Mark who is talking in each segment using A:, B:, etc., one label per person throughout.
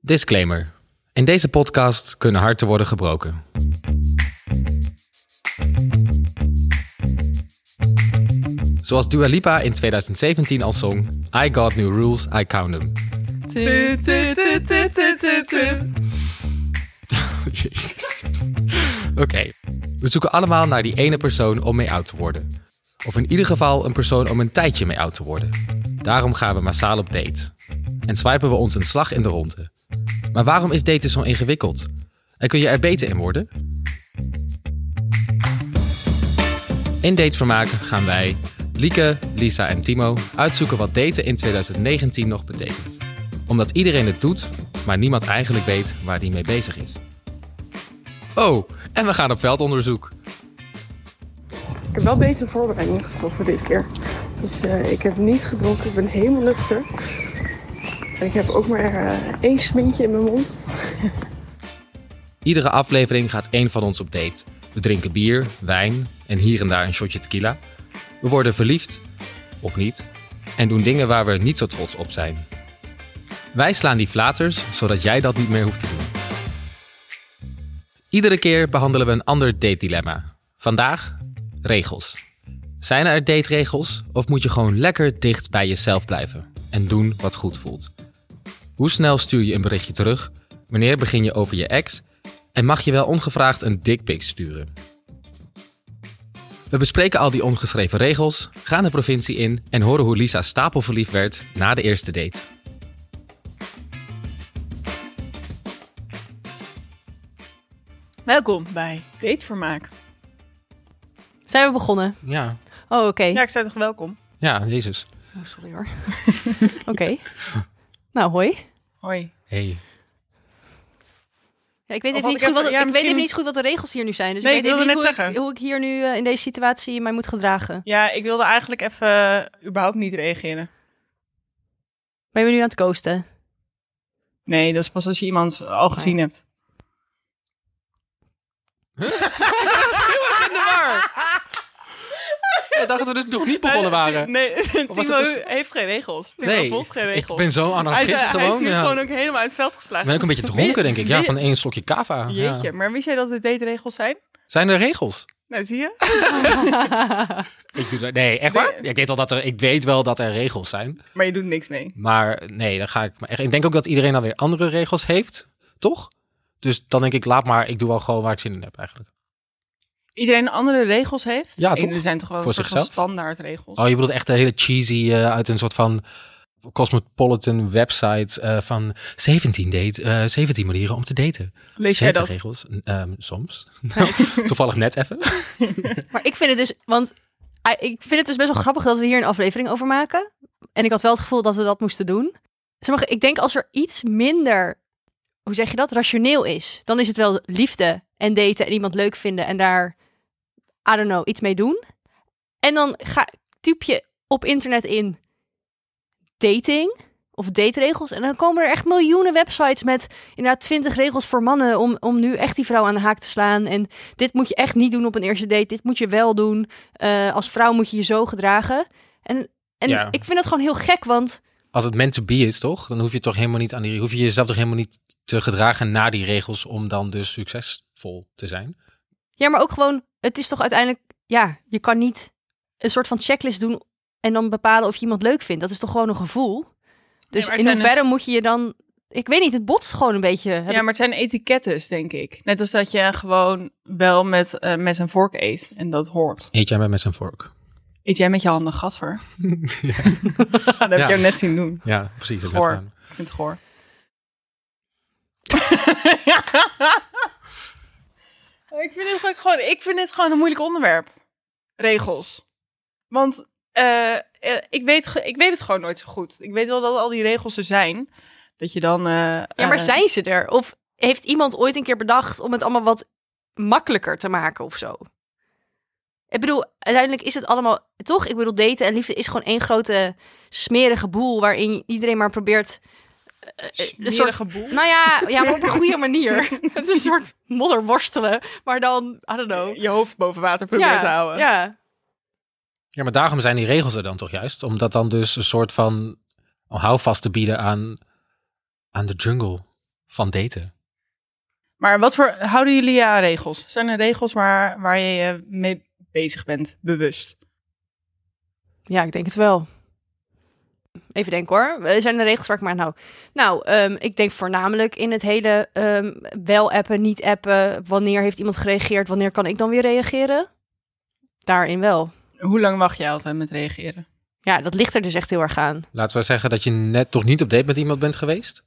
A: Disclaimer. In deze podcast kunnen harten worden gebroken. Zoals Dua Lipa in 2017 al zong... I got new rules, I count them.
B: Tut, tut, tut, tut, tut, tut, tut.
A: Oh, Jezus. Oké. We zoeken allemaal naar die ene persoon om mee oud te worden. Of in ieder geval een persoon om een tijdje mee oud te worden. Daarom gaan we massaal op date. En swipen we ons een slag in de ronde. Maar waarom is daten zo ingewikkeld? En kun je er beter in worden? In Datevermaak gaan wij, Lieke, Lisa en Timo, uitzoeken wat daten in 2019 nog betekent. Omdat iedereen het doet, maar niemand eigenlijk weet waar die mee bezig is. Oh, en we gaan op veldonderzoek.
C: Ik heb wel betere voorbereidingen getroffen dit keer. Dus eh, ik heb niet gedronken, ik ben helemaal nuchter. En ik heb ook maar eh, één smintje in mijn mond.
A: Iedere aflevering gaat één van ons op date. We drinken bier, wijn en hier en daar een shotje tequila. We worden verliefd, of niet, en doen dingen waar we niet zo trots op zijn. Wij slaan die flaters, zodat jij dat niet meer hoeft te doen. Iedere keer behandelen we een ander date-dilemma. Vandaag regels. Zijn er dateregels of moet je gewoon lekker dicht bij jezelf blijven en doen wat goed voelt? Hoe snel stuur je een berichtje terug? Wanneer begin je over je ex? En mag je wel ongevraagd een dickpic sturen? We bespreken al die ongeschreven regels, gaan de provincie in en horen hoe Lisa stapelverliefd werd na de eerste date.
B: Welkom bij Datevermaak.
D: Zijn we begonnen?
A: Ja,
D: Oh, oké.
B: Ja, ik zei toch welkom?
A: ja, Jezus.
D: Oh, sorry hoor. oké. Nou, hoi.
B: Hoi.
A: Hey.
D: Ja, ik weet,
B: Of
D: even
B: had
D: niet,
B: ik
D: goed
B: even-
D: wat,
B: ja,
D: ik
B: misschien-
D: weet even niet goed wat de regels hier nu zijn. Dus
B: Nee,
D: ik
B: ik
D: weet even
B: wilde
D: niet
B: net
D: hoe ik,
B: zeggen.
D: hoe ik hier nu eh, in deze situatie mij moet gedragen.
B: Ja, ik wilde eigenlijk even eh, überhaupt niet reageren.
D: Ben je nu aan het coasten?
B: Nee, dat is pas als je iemand al gezien hebt.
A: In de war! Ik dacht dat we dus nog niet begonnen waren.
B: Eh, Nee,
A: Of was
B: Timo
A: het dus-
B: heeft geen regels. Timo
A: Nee,
B: volgt geen
A: ik
B: regels.
A: ben zo
B: hij, is,
A: anarchist
B: hij is
A: gewoon.
B: nu
A: ja.
B: gewoon
A: Ik
B: ook helemaal uit het veld geslagen.
A: ben ook een beetje dronken, denk ik. Ja,
B: Weet-
A: van één slokje kava. Ah, ja.
B: Jeetje, maar wist jij dat de dateregels zijn?
A: Zijn er regels?
B: Nou, zie je?
A: Ik doe dat- nee, echt waar?
B: Nee.
A: Ja, Ik, weet wel dat er, ik weet wel dat er regels zijn.
B: Maar je doet niks mee.
A: Maar nee, dan ga ik. Maar echt, ik denk ook dat iedereen dan weer andere regels heeft, toch? Dus dan denk ik, laat maar, ik doe wel gewoon waar ik zin in heb eigenlijk.
B: Iedereen andere regels heeft?
A: Ja,
B: Nee,
A: toch?
B: Er zijn toch wel een
A: Voor
B: soort van
A: zichzelf?
B: standaardregels.
A: Oh, je bedoelt echt de hele cheesy eh, uit een soort van cosmopolitan website eh, van 17, date, eh, 17 manieren om te daten.
B: Lees jij
A: Zeven
B: dat?
A: regels, N- ehm, soms. Toevallig net even.
D: Maar ik vind het dus, want ah, ik vind het dus best wel grappig dat we hier een aflevering over maken. En ik had wel het gevoel dat we dat moesten doen. Sommige, ik denk als er iets minder, hoe zeg je dat, rationeel is, dan is het wel liefde en daten en iemand leuk vinden en daar, I don't know, iets mee doen. En dan ga, typ je op internet in dating of dateregels en dan komen er echt miljoenen websites met inderdaad 20 regels voor mannen om, om nu echt die vrouw aan de haak te slaan en dit moet je echt niet doen op een eerste date. Dit moet je wel doen. Eh, als vrouw moet je je zo gedragen. En, en
A: Ja.
D: ik vind dat gewoon heel gek, want
A: Als het meant to be is, toch? Dan hoef je toch helemaal niet aan die, hoef je jezelf toch helemaal niet te gedragen naar die regels om dan dus succesvol te zijn.
D: ja, maar ook gewoon, het is toch uiteindelijk, ja, je kan niet een soort van checklist doen en dan bepalen of je iemand leuk vindt. Dat is toch gewoon een gevoel. Dus
B: maar het
D: in
B: zijn
D: hoeverre moet je je dan, ik weet niet, het botst gewoon een beetje. Heb
B: Ja,
D: ik-
B: maar het zijn etikettes, denk ik. Net als dat je gewoon wel met eh mes en vork eet. En dat hoort.
A: Eet jij mij met zijn vork?
B: Eet jij met je handen gatver? dat heb
A: Ja.
B: ik jou net zien doen.
A: Ja, precies. dat
B: Goor.
A: werd gedaan.
B: Ik vind het goor. ik, vind het ook gewoon, ik vind dit gewoon een moeilijk onderwerp. Regels. Want eh, eh, ik, weet, ge- ik weet het gewoon nooit zo goed. Ik weet wel dat al die regels er zijn. Dat je dan... eh,
D: ja, maar
B: eh,
D: zijn ze er? Of heeft iemand ooit een keer bedacht om het allemaal wat makkelijker te maken of zo? Ik bedoel, uiteindelijk is het allemaal toch? Ik bedoel, daten en liefde is gewoon één grote smerige boel waarin iedereen maar probeert. eh, eh, een soort,
B: smerige boel.
D: nou ja, ja, maar op een goede manier. Het is een soort modder worstelen, maar dan, I don't know.
B: je hoofd boven water proberen te houden.
D: ja.
A: Ja, maar daarom zijn die regels er dan toch juist? Omdat dan dus een soort van houvast te bieden aan, aan de jungle. van daten.
B: Maar wat voor houden jullie aan regels? Zijn er regels waar, waar je je mee bezig bent, bewust?
D: Ja, ik denk het wel. Even denken hoor. Eh, Zijn er regels waar ik maar aan hou? Nou, ehm, ik denk voornamelijk in het hele ehm, wel appen, niet appen. Wanneer heeft iemand gereageerd? Wanneer kan ik dan weer reageren? Daarin wel.
B: Hoe lang wacht je altijd met reageren?
D: Ja, dat ligt er dus echt heel erg aan.
A: Laten we zeggen dat je net toch niet op date met iemand bent geweest.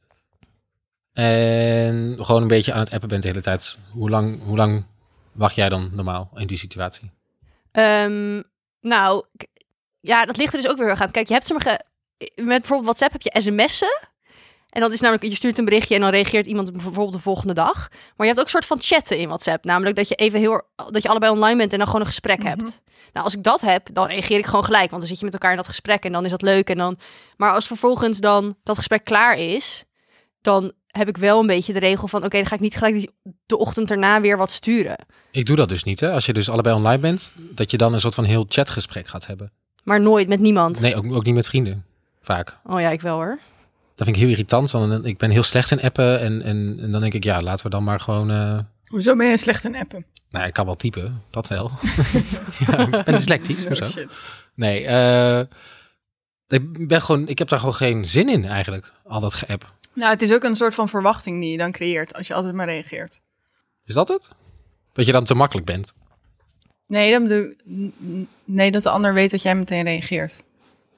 A: En gewoon een beetje aan het appen bent de hele tijd. Hoe lang, hoe lang wacht jij dan normaal in die situatie?
D: Ehm, nou, k- ja, dat ligt er dus ook weer heel erg aan. Kijk, je hebt sommige... eh, Met bijvoorbeeld WhatsApp heb je sms'en. En dat is namelijk, je stuurt een berichtje en dan reageert iemand bijvoorbeeld de volgende dag. Maar je hebt ook een soort van chatten in WhatsApp. Namelijk dat je even heel, dat je allebei online bent en dan gewoon een gesprek
B: Mhm.
D: hebt. Nou, als ik dat heb, dan reageer ik gewoon gelijk. Want dan zit je met elkaar in dat gesprek en dan is dat leuk. En dan, maar als vervolgens dan dat gesprek klaar is, dan heb ik wel een beetje de regel van, oké, dan ga ik niet gelijk die- de ochtend erna weer wat sturen.
A: Ik doe dat dus niet, hè. Als je dus allebei online bent, dat je dan een soort van heel chatgesprek gaat hebben.
D: Maar nooit met niemand.
A: Nee, ook, ook niet met vrienden, vaak.
D: Oh ja, ik wel hoor.
A: Dat vind ik heel irritant, want ik ben heel slecht in appen. En, en, en dan denk ik, ja, laten we dan maar gewoon... eh,
B: Hoezo ben je slecht in appen?
A: Nou, ik kan wel typen, dat wel. ja, ik ben dyslectisch, of zo.
B: Oh, shit.
A: Nee, eh, ik, ben gewoon, ik heb daar gewoon geen zin in eigenlijk, al dat geapp.
B: Nou, het is ook een soort van verwachting die je dan creëert als je altijd maar reageert.
A: Is dat het? Dat je dan te makkelijk bent.
B: Nee, dan bedoel ik- n- n- nee, dat de ander weet dat jij meteen reageert.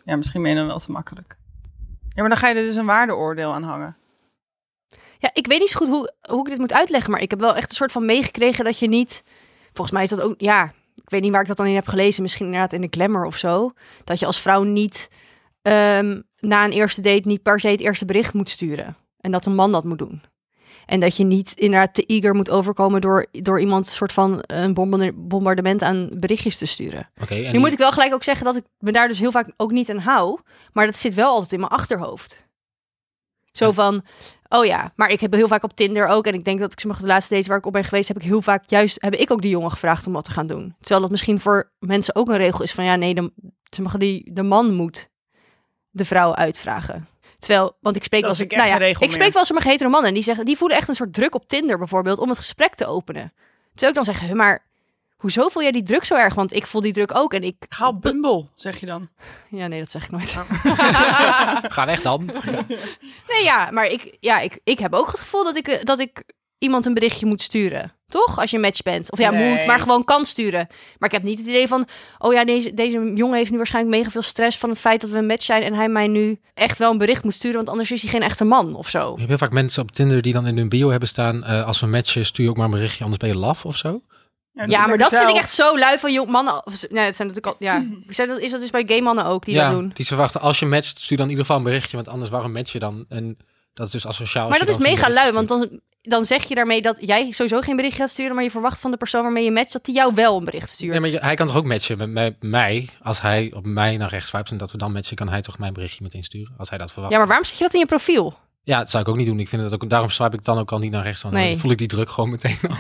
B: Ja, misschien ben je dan wel te makkelijk. Ja, maar dan ga je er dus een waardeoordeel aan hangen.
D: Ja, ik weet niet zo goed hoe, hoe ik dit moet uitleggen, maar ik heb wel echt een soort van meegekregen dat je niet. Volgens mij is dat ook. Ja, ik weet niet waar ik dat dan in heb gelezen. Misschien inderdaad in de Glamour of zo. Dat je als vrouw niet ehm, na een eerste date niet per se het eerste bericht moet sturen. En dat een man dat moet doen. En dat je niet inderdaad te eager moet overkomen door, door iemand een soort van een bombarde- bombardement aan berichtjes te sturen.
A: Oké, en
D: Nu
A: die-
D: moet ik wel gelijk ook zeggen dat ik me daar dus heel vaak ook niet aan hou. Maar dat zit wel altijd in mijn achterhoofd. Zo van, oh ja, maar ik heb heel vaak op Tinder ook. En ik denk dat ik sommige de laatste dates waar ik op ben geweest, heb ik heel vaak juist, heb ik ook die jongen gevraagd om wat te gaan doen. Terwijl dat misschien voor mensen ook een regel is van, ja nee, de, sommige die, de man moet de vrouw uitvragen. Terwijl, want ik spreek
B: Dat
D: wel
B: vind
D: eens-
B: ik echt
D: nou
B: geen
D: ja,
B: regel
D: ik spreek
B: meer.
D: wel eens sommige hetero mannen en die zeggen, die voelen echt een soort druk op Tinder bijvoorbeeld om het gesprek te openen. Terwijl ik dan zeg, "Huh, maar hoezo voel jij die druk zo erg? Want ik voel die druk ook en ik...
B: Ga op Bumble, zeg je dan.
D: Ja, nee, dat zeg ik nooit.
A: Ga weg dan.
D: Nee, ja, maar ik, ja, ik, ik heb ook het gevoel dat ik, eh, dat ik iemand een berichtje moet sturen. Toch? Als je een match bent. Of ja,
B: Nee.
D: moet, maar gewoon kan sturen. Maar ik heb niet het idee van... Oh ja, deze, deze jongen heeft nu waarschijnlijk mega veel stress... van het feit dat we een match zijn... en hij mij nu echt wel een bericht moet sturen... want anders is hij geen echte man of zo.
A: Je hebt heel vaak mensen op Tinder die dan in hun bio hebben staan... eh, als we matchen stuur je ook maar een berichtje, anders ben je laf of zo.
D: Ja, maar dat vind ik echt zo lui van jong mannen. of- Nee, dat zijn natuurlijk al... Ja. Zijn dat- Is dat dus bij gay mannen ook die
A: ja,
D: dat doen?
A: die ze wachten, als je matcht, stuur dan in ieder geval een berichtje... want anders waarom match je dan? En dat is dus asociaal.
D: Maar dat is mega lui, want dan, dan zeg je daarmee dat jij sowieso geen bericht gaat sturen... maar je verwacht van de persoon waarmee je matcht... dat hij jou wel een bericht stuurt.
A: Nee, maar je- hij kan toch ook matchen met, met mij... als hij op mij naar rechts swipes en dat we dan matchen... kan hij toch mijn berichtje meteen sturen, als hij dat verwacht.
D: Ja, maar waarom zet je dat in je profiel?
A: Ja, dat zou ik ook niet doen. Ik vind dat ook, daarom swipe ik dan ook al niet naar rechts. Dan
D: Nee.
A: voel ik die druk gewoon meteen al.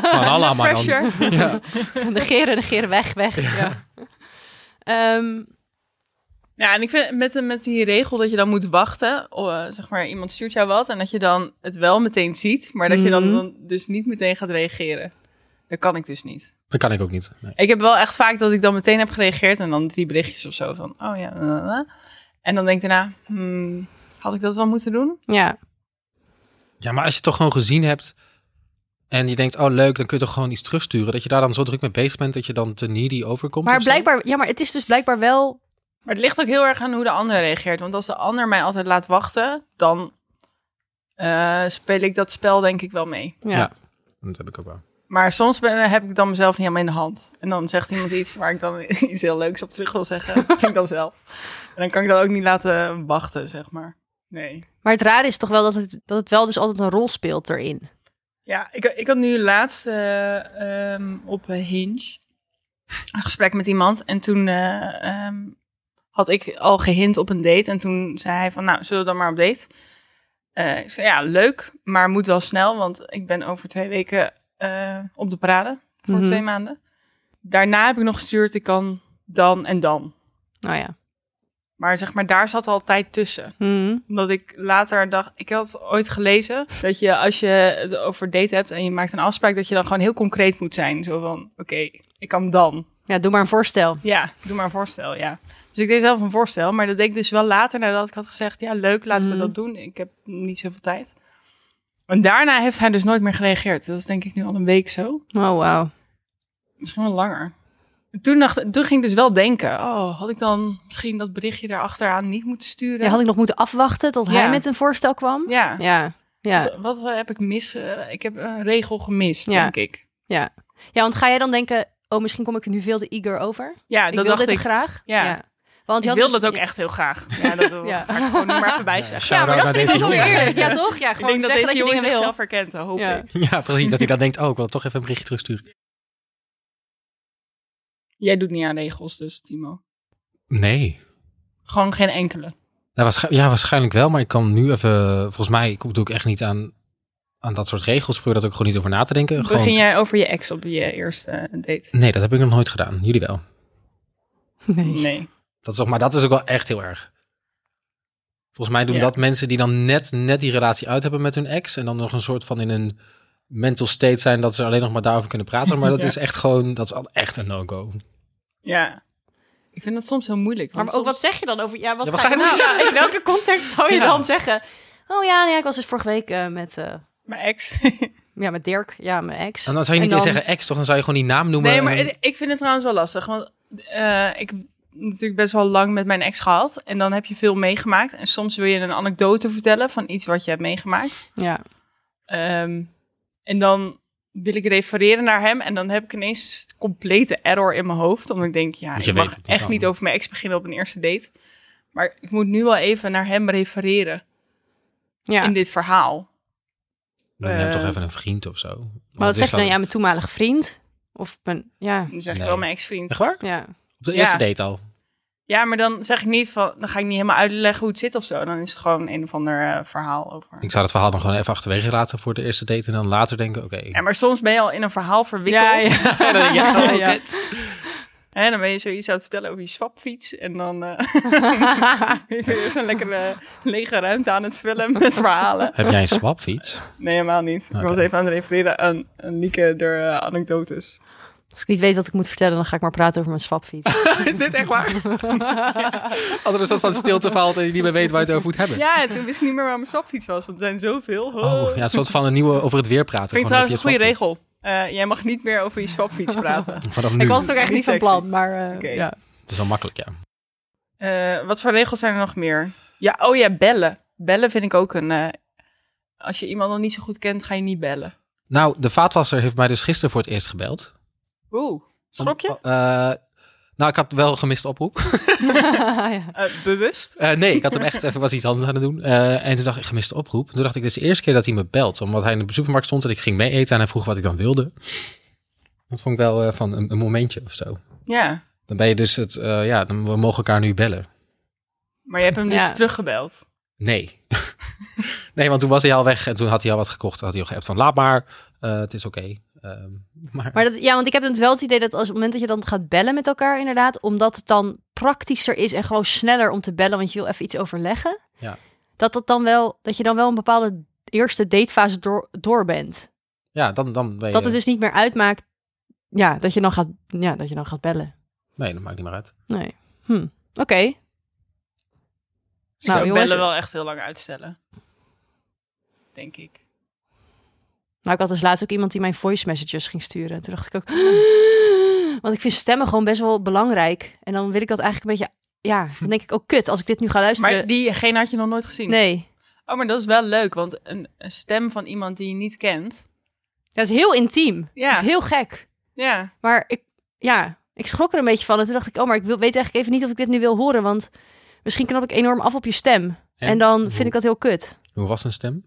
A: Van Allah, man. dan. Ja.
D: negeren, negeren, weg, weg. Ja. Ehm,
B: Ja, en ik vind met, met die regel dat je dan moet wachten, oh, eh, zeg maar, iemand stuurt jou wat en dat je dan het wel meteen ziet, maar dat je dan,
D: Mhm.
B: dan dus niet meteen gaat reageren. Dat kan ik dus niet.
A: Dat kan ik ook niet. Nee.
B: Ik heb wel echt vaak dat ik dan meteen heb gereageerd en dan drie berichtjes of zo van, oh ja, eh, eh. en dan denk ik daarna, hmm, had ik dat wel moeten doen?
D: ja.
A: Ja, maar als je het toch gewoon gezien hebt... en je denkt, oh leuk, dan kun je toch gewoon iets terugsturen... dat je daar dan zo druk mee bezig bent... dat je dan te needy overkomt
D: Maar
A: of zo?
D: blijkbaar, ja, maar het is dus blijkbaar wel.
B: Maar het ligt ook heel erg aan hoe de ander reageert, want als de ander mij altijd laat wachten, dan eh, speel ik dat spel denk ik wel mee.
D: Ja.
A: Ja. Dat heb ik ook wel.
B: Maar soms ben, heb ik dan mezelf niet helemaal in de hand. En dan zegt iemand iets waar ik dan iets heel leuks op terug wil zeggen. Dat vind ik dan zelf. En dan kan ik dat ook niet laten wachten, zeg maar. Nee.
D: Maar het rare is toch wel dat het, dat het wel dus altijd een rol speelt erin.
B: Ja, ik, ik had nu laatst eh, ehm, op Hinge een gesprek met iemand. En toen eh, ehm, had ik al gehint op een date. En toen zei hij van, nou, zullen we dan maar op date? Eh, ik zei, ja, leuk, maar moet wel snel. Want ik ben over twee weken eh, op de parade voor
D: Mhm.
B: twee maanden. Daarna heb ik nog gestuurd, ik kan dan en dan.
D: Nou ja.
B: Maar zeg maar, daar zat altijd tussen.
D: Hmm.
B: Omdat ik later dacht, ik had ooit gelezen dat je als je het over date hebt en je maakt een afspraak, dat je dan gewoon heel concreet moet zijn. Zo van, oké, ik kan dan.
D: Ja, doe maar een voorstel.
B: Ja, doe maar een voorstel, ja. Dus ik deed zelf een voorstel, maar dat deed ik dus wel later nadat ik had gezegd, ja leuk, laten
D: Mhm.
B: we dat doen. Ik heb niet zoveel tijd. En daarna heeft hij dus nooit meer gereageerd. Dat is denk ik nu al een week zo.
D: Oh, wauw.
B: Misschien wel langer. Toen, dacht, toen ging ik dus wel denken, oh, had ik dan misschien dat berichtje daarachteraan niet moeten sturen?
D: Ja, had ik nog moeten afwachten tot hij
B: Ja.
D: met een voorstel kwam?
B: Ja.
D: Ja. Ja.
B: Wat, wat, eh, heb ik mis? eh, ik heb een regel gemist,
D: Ja.
B: denk ik.
D: ja, want ga jij dan denken, oh, misschien kom ik er nu veel te eager over?
B: Ja,
D: ik
B: dat
D: wil
B: dacht
D: dit
B: ik.
D: graag.
B: Ja.
D: Want
B: Ik
D: je had
B: wilde
D: dus-
B: dat ook echt heel graag. Ja, dat wil
D: Ja.
B: ga ik gewoon nu maar voorbij zeggen.
D: Ja, maar
A: Shout-out
D: dat
A: aan
D: vind ik
A: deze
D: wel weer
A: jongen.
D: eerlijk. Ja, toch? Ja,
B: Ik
D: gewoon
B: denk dat
D: zeggen
B: deze
D: dat je
B: jongen
D: dingen wil.
B: zichzelf herkent, dat hoop
D: Ja.
B: ik.
A: Ja, precies. Dat hij dan denkt, oh, ik wil toch even een berichtje terugsturen.
B: Jij doet niet aan regels dus, Timo.
A: Nee.
B: Gewoon geen enkele.
A: Nou, waarsch- ja, waarschijnlijk wel, maar ik kan nu even... Volgens mij ik- doe ik echt niet aan, aan dat soort regels. Ik Probeer dat ook gewoon niet over na te denken. Gewoon
B: Begin jij over je ex op je eerste date?
A: Nee, dat heb ik nog nooit gedaan. Jullie wel.
B: Nee.
A: Dat is ook, maar dat is ook wel echt heel erg. Volgens mij doen
B: Ja.
A: dat mensen die dan net, net die relatie uit hebben met hun ex. En dan nog een soort van in een mental state zijn dat ze alleen nog maar daarover kunnen praten. Maar dat
B: Ja.
A: is echt gewoon, dat is al echt een no-go.
B: Ja. Ik vind dat soms heel moeilijk.
D: Maar
B: want
D: ook wat
B: soms-
D: zeg je dan over... Ja, wat,
A: Ja, wat
D: ga je
A: ga je
D: nou? Ja, in welke context zou je
A: Ja.
D: dan zeggen? Oh ja, nee, ik was dus vorige week eh, met, eh,
B: Mijn ex.
D: ja, met Dirk, ja, mijn ex.
A: En dan zou je niet
D: En
A: eens
D: dan-
A: zeggen ex, toch? Dan zou je gewoon die naam noemen.
B: Nee, maar
A: en dan-
B: het- ik vind het trouwens wel lastig. Want eh, ik heb natuurlijk best wel lang met mijn ex gehad. En dan heb je veel meegemaakt. En soms wil je een anekdote vertellen van iets wat je hebt meegemaakt.
D: Ja.
B: Ehm, en dan wil ik refereren naar hem. En dan heb ik ineens complete error in mijn hoofd. Omdat ik denk, ja,
A: Want je
B: ik mag
A: weet het niet
B: echt
A: dan.
B: niet over mijn ex beginnen op een eerste date. Maar ik moet nu wel even naar hem refereren
D: ja.
B: in dit verhaal.
A: noem hem toch
B: eh,
A: even een vriend of zo. Want
D: maar
A: het
D: wat
A: is
D: zeg je dan?
B: nou?
A: dan-
D: Ja, mijn toenmalige vriend? Of mijn... Ja,
B: Dan zeg ik
A: Nee.
B: wel mijn ex-vriend.
A: Echt waar?
D: ja.
A: Op de
B: Ja.
A: eerste date al.
B: Ja, maar dan zeg ik niet van, dan ga ik niet helemaal uitleggen hoe het zit of zo. Dan is het gewoon een of ander eh, verhaal over.
A: Ik zou dat verhaal dan gewoon even achterwege laten voor de eerste date. En dan later denken, oké.
B: Ja, maar soms ben je al in een verhaal verwikkeld.
A: En dan denk je, oh,
D: Ja.
A: kut.
B: En dan ben je zoiets aan het vertellen over je swapfiets. En dan eh ben je weer zo'n lekkere lege ruimte aan het vullen met verhalen.
A: Heb jij een swapfiets?
B: Nee, helemaal niet.
A: Oké.
B: Ik was even aan het refereren aan, aan Lieke door eh, anekdotes.
D: Als ik niet weet wat ik moet vertellen, dan ga ik maar praten over mijn swapfiets.
A: Is dit echt waar? Als er een soort van stilte valt en je niet meer weet waar je het over moet hebben.
B: Ja, en toen wist ik niet meer waar mijn swapfiets was, want er zijn zoveel.
A: Oh, ja, een soort van een nieuwe over het weer praten.
B: Vind ik
A: Gewoon
B: trouwens een
A: over je
B: goede regel. Eh, jij mag niet meer over je swapfiets praten.
A: swapfiets. Vanaf nu.
D: Ik was het ook echt
B: Niet
D: niet van
B: sexy.
D: plan, maar... eh,
B: Oké.
D: ja.
A: Dat is wel makkelijk, ja.
B: Eh, wat voor regels zijn er nog meer? Ja, oh ja, bellen. Bellen vind ik ook een. eh, als je iemand nog niet zo goed kent, ga je niet bellen.
A: Nou, de vaatwasser heeft mij dus gisteren voor het eerst gebeld.
B: Oeh, schrok je?
A: Om- eh, nou, ik had wel gemist oproep.
D: ja.
B: Eh, bewust?
A: Eh, nee, ik had hem echt even was iets anders aan het doen. Eh, en toen dacht ik, gemiste oproep. Toen dacht ik, dit is de eerste keer dat hij me belt. Omdat hij in de supermarkt stond en ik ging mee eten en hij vroeg wat ik dan wilde. Dat vond ik wel eh, van een, een momentje of zo.
B: Ja,
A: Dan ben je dus het, eh, ja, dan, we mogen elkaar nu bellen.
B: maar je hebt hem dus
D: Ja.
B: teruggebeld.
A: Nee. nee, want toen was hij al weg en toen had hij al wat gekocht. Had hij al geappt van laat maar, eh, het is oké. Ehm, maar,
D: Maar dat, ja, want ik heb dus wel het idee dat als op het moment dat je dan gaat bellen met elkaar, inderdaad, omdat het dan praktischer is en gewoon sneller om te bellen, want je wil even iets overleggen.
A: Ja.
D: Dat dat dan wel, dat je dan wel een bepaalde eerste datefase door, door bent.
A: ja, dan, dan ben je...
D: Dat het dus niet meer uitmaakt. Ja, dat je dan gaat, ja, dat je dan gaat bellen.
A: Nee, dat maakt niet meer uit.
D: Nee. Hm. Oké.
B: Ze nou,
D: jongens-
B: bellen wel echt heel lang uitstellen. Denk ik.
D: Nou, ik had dus laatst ook iemand die mijn voice messages ging sturen. Toen dacht ik ook. Want ik vind stemmen gewoon best wel belangrijk. En dan wil ik dat eigenlijk een beetje. Ja, dan denk ik ook kut als ik dit nu ga luisteren.
B: Maar diegene had je nog nooit gezien.
D: Nee.
B: Oh, maar dat is wel leuk, want een, een stem van iemand die je niet kent.
D: Ja, het is heel intiem.
B: Ja.
D: Het is heel gek.
B: Ja,
D: Maar ik, ja, ik schrok er een beetje van. En toen dacht ik, oh, maar ik wil, weet eigenlijk even niet of ik dit nu wil horen. Want misschien knap ik enorm af op je stem. En, dan vind ik dat heel kut.
A: Hoe was zijn stem?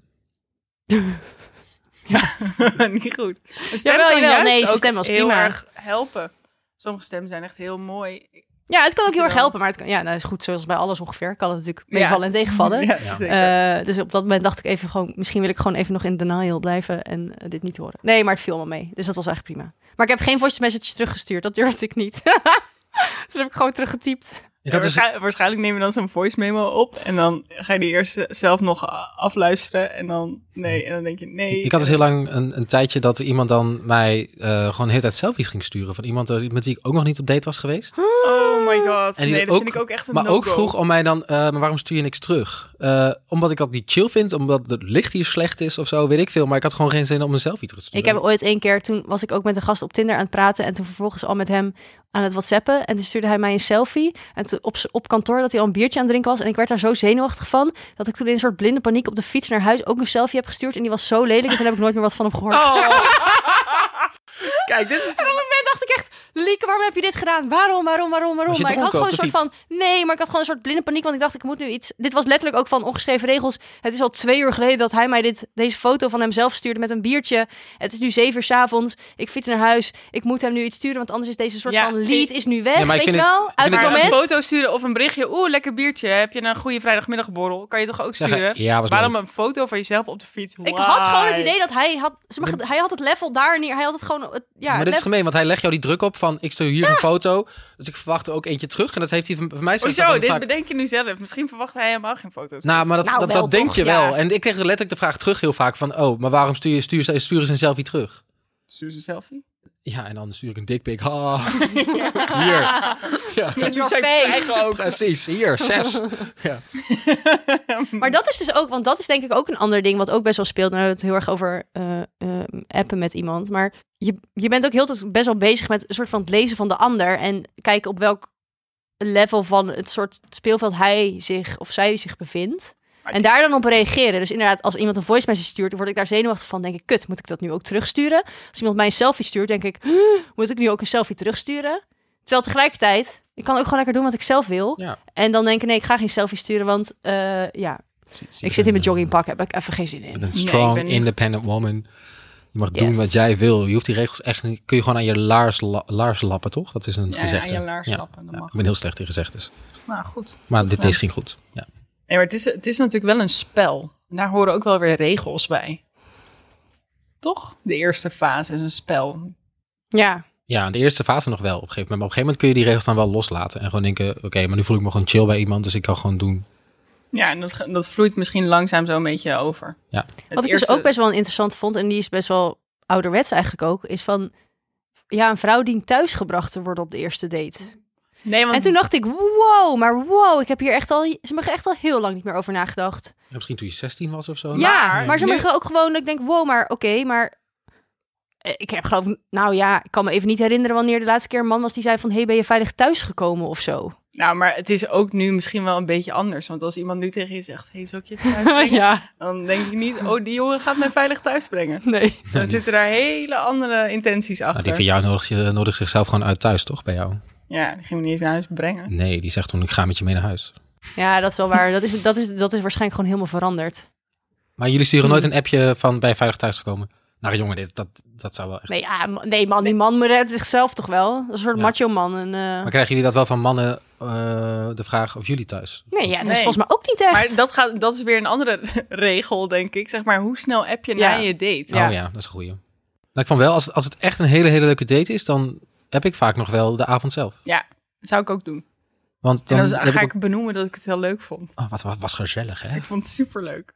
B: niet goed. Een stem
D: Jawel,
B: kan
D: jawel.
B: juist
D: Nee, zijn
B: ook
D: stem was
B: heel
D: prima.
B: erg helpen. Sommige stemmen zijn echt heel mooi.
D: Ja, het kan ook heel erg
B: Ja.
D: helpen. Maar het kan, ja, nou, is goed zoals bij alles ongeveer. Kan het natuurlijk
B: Ja.
D: meevallen en tegenvallen.
B: Ja,
A: Ja.
B: zeker.
D: Eh, dus op dat moment dacht ik even gewoon, misschien wil ik gewoon even nog in denial blijven en eh, dit niet horen. Nee, maar het viel allemaal mee. Dus dat was eigenlijk prima. Maar ik heb geen voice message teruggestuurd. Dat durfde ik niet. Toen heb ik gewoon teruggetypt.
A: Ik had dus-
B: waarschijnlijk, waarschijnlijk neem je dan zo'n voice memo op. En dan ga je die eerst zelf nog a- afluisteren. En dan nee. En dan denk je nee.
A: Ik had dus heel lang een, een tijdje dat iemand dan mij eh, gewoon de hele tijd selfies ging sturen. Van iemand eh, met wie ik ook nog niet op date was geweest.
D: Hm?
B: Oh my god.
A: En die
B: nee, dat
A: ook-
B: vind ik ook echt een
A: maar ook
B: no-go.
A: vroeg om mij dan, eh, maar waarom stuur je niks terug? Eh, omdat ik dat niet chill vind, omdat het licht hier slecht is of zo, weet ik veel. Maar ik had gewoon geen zin om een selfie terug te
D: Ik
A: sturen.
D: heb ooit één keer, toen was ik ook met een gast op Tinder aan het praten. En toen vervolgens al met hem aan het whatsappen. En toen stuurde hij mij een selfie. En toen op, z- op kantoor dat hij al een biertje aan het drinken was. En ik werd daar zo zenuwachtig van. Dat ik toen in een soort blinde paniek op de fiets naar huis ook een selfie heb gestuurd. En die was zo lelijk. En toen heb ik nooit meer wat van hem gehoord.
A: Kijk, dit is
D: En op dat moment dacht ik echt, Lieke, waarom heb je dit gedaan? Waarom, waarom, waarom, waarom?
A: Was je
D: Maar ik had gewoon
A: dronken
D: een
A: op
D: soort
A: de
D: van, nee, maar ik had gewoon een soort blinde paniek, want ik dacht, ik moet nu iets. Dit was letterlijk ook van ongeschreven regels. Het is al twee uur geleden dat hij mij dit, deze foto van hemzelf stuurde met een biertje. Het is nu zeven uur 's avonds. Ik fiets naar huis. Ik moet hem nu iets sturen, want anders is deze soort
B: Ja,
D: van
B: ik-
D: lead is nu weg.
A: Ja, maar ik
D: weet je
A: vind het- ik
D: wel? Uit
A: vind
D: het
A: het
B: Maar
A: echt-
B: een
D: moment.
B: foto sturen of een berichtje. Oeh, lekker biertje. Heb je een goede vrijdagmiddagborrel? Kan je toch ook sturen?
A: Ja, was
B: Waarom
A: leuk.
B: een foto van jezelf op de fiets?
D: Ik had gewoon het
B: Why?
D: idee dat hij had, zeg maar, hij had het level daar neer. Hij had het gewoon, het, ja,
A: maar dit is
D: level-
A: gemeen, want hij legt jou die druk op van ik stuur hier een foto. Dus ik verwacht er ook eentje terug. En dat heeft hij van, van mij zo
B: Hoezo? Dit bedenk je nu zelf. Misschien verwacht hij helemaal geen foto's.
A: Nou, maar dat,
D: Nou,
A: dat,
D: wel
A: dat denk
D: toch,
A: je
D: ja.
A: wel. En ik kreeg letterlijk de vraag terug heel vaak van... oh, maar waarom stuur je stuur, stuur, eens een selfie terug?
B: Stuur ze een selfie.
A: Ja, en dan stuur ik een dikpik. Ha, hier. Ja,
D: in your
B: Zijn
D: face.
B: krijgen ook.
A: precies, hier, zes.
D: Maar dat is dus ook, want dat is denk ik ook een ander ding wat ook best wel speelt. Nou, we hebben het heel erg over eh, eh, appen met iemand. Maar je, je bent ook heel de tijd best wel bezig met een soort van het lezen van de ander. En kijken op welk level van het soort speelveld hij zich of zij zich bevindt.
B: Maar
D: En daar dan op reageren. Dus inderdaad, als iemand een voice message stuurt, dan word ik daar zenuwachtig van. Denk ik, kut, moet ik dat nu ook terugsturen? Als iemand mij een selfie stuurt, denk ik, "Huh, moet ik nu ook een selfie terugsturen? Terwijl tegelijkertijd, ik kan ook gewoon lekker doen wat ik zelf wil.
A: Ja.
D: En dan denk ik, nee, ik ga geen selfie sturen, want eh, ja, ik zit in mijn joggingpak, heb ik even geen zin
A: Je
D: in.
A: bent een
B: Nee, ik
A: strong,
B: ben niet-
A: independent woman. Je mag doen
D: Yes.
A: wat jij wil. Je hoeft die regels echt niet... Kun je gewoon aan je laars, la- laars lappen, toch? Dat is een
B: Ja,
A: gezegde.
B: aan je laars
A: Ja.
B: lappen. Dat
A: Ja,
B: mag.
A: ik ben heel slecht in gezegdes.
B: Nou, goed.
A: Maar dit,
B: gedaan.
A: deze ging goed. Ja.
B: Nee, maar het is, het is natuurlijk wel een spel. En daar horen ook wel weer regels bij. Toch? De eerste fase is een spel.
D: Ja,
A: Ja, in de eerste fase nog wel op een gegeven moment. Maar op een gegeven moment kun je die regels dan wel loslaten. En gewoon denken, oké, maar nu voel ik me gewoon chill bij iemand. Dus ik kan gewoon doen.
B: Ja, en dat, ge- dat vloeit misschien langzaam zo'n beetje over.
A: Ja.
B: Het
D: wat ik
B: eerste-
D: dus ook best wel interessant vond, en die is best wel ouderwets eigenlijk ook, is van, ja, een vrouw die thuisgebracht te worden op de eerste date.
B: Nee, want
D: En toen dacht ik, wow, maar wow, ik heb hier echt al, ze mag echt al heel lang niet meer over nagedacht.
A: Ja, misschien toen je 16 was of zo. nou,
D: ja, Oh, maar ze
B: nu-
D: mag ook gewoon, dat ik denk, wow, maar oké, maar... eh, Ik heb geloof, nou ja, ik kan me even niet herinneren wanneer de laatste keer een man was die zei van, hey, ben je veilig thuisgekomen of zo?
B: Nou, maar het is ook nu misschien wel een beetje anders. Want als iemand nu tegen je zegt, hey, zal ik je even thuis brengen?"
D: ja,
B: Dan denk je niet, oh, die jongen gaat mij veilig thuis brengen.
D: nee.
B: Dan zitten daar hele andere intenties
A: Nou,
B: achter.
A: die van jou nodigt, je- nodigt zichzelf gewoon uit thuis, toch? Bij jou?
B: Ja, die ging me niet eens naar huis brengen.
A: Nee, die zegt toen, ik ga met je mee naar huis.
D: Ja, dat is wel waar. Dat is, dat is, dat is waarschijnlijk gewoon helemaal veranderd.
A: Maar jullie sturen nooit een appje van, ben je veilig thuisgekomen? Nou jongen, dit, dat, dat zou wel echt...
D: Nee, ja, m- nee man, die man redt zichzelf toch wel. Dat is Een soort
A: Ja.
D: macho man. En, eh,
A: Maar krijgen jullie dat wel van mannen, eh, de vraag of jullie thuis?
D: Nee, ja, dat
B: Nee.
D: is volgens mij ook niet echt.
B: Maar dat, gaat, dat is weer een andere regel, denk ik. Zeg maar, hoe snel app je
D: Ja.
B: na je date?
D: Ja.
A: Oh ja, dat is een goeie. Nou, ik van wel, als, als het echt een hele, hele leuke date is, dan heb ik vaak nog wel de avond zelf.
B: Dat zou ik ook doen.
A: Want
B: En
A: dan,
B: dan,
A: heb
B: ga
A: ook-
B: ik benoemen dat ik het heel leuk vond.
A: Oh, wat, wat was gezellig, hè?
B: Ik vond het superleuk.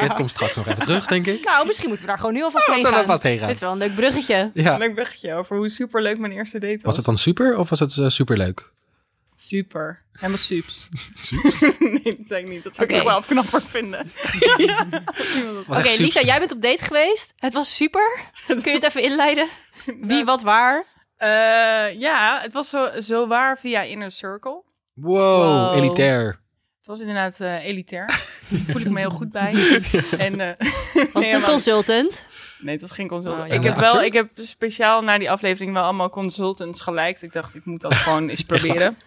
A: Dit komt straks nog even terug, denk ik.
D: Nou, misschien moeten we daar gewoon nu alvast
A: Wat
D: heen
A: zou
D: gaan.
A: daar vast heen
D: Dit
A: gaan?
D: is wel een leuk bruggetje.
B: Een
A: Ja.
B: leuk berichtje over hoe superleuk mijn eerste date was.
A: Was het dan super of was het eh, superleuk?
B: Super. Helemaal sups. nee, dat zei ik niet. Dat zou ik
D: Oké.
B: ook wel afknapper vinden.
A: Was
D: Oké,
A: echt super.
D: Lisa, jij bent op date geweest. Het was super. Kun je het even inleiden? Wie, wat, waar?
B: Eh, ja, het was zo, zo waar via Inner Circle.
A: Wow,
B: Wow.
A: elitair.
B: Het was inderdaad eh, elitair. Daar voel ik me heel goed bij. En, eh,
D: Was het
B: nee,
D: een
B: helemaal niet.
D: consultant?
B: Nee, het was geen consultant.
D: Oh,
B: ik,
A: jammer.
B: heb wel,
A: Acteur?
B: ik heb speciaal na die aflevering wel allemaal consultants geliked. Ik dacht, ik moet dat gewoon eens proberen.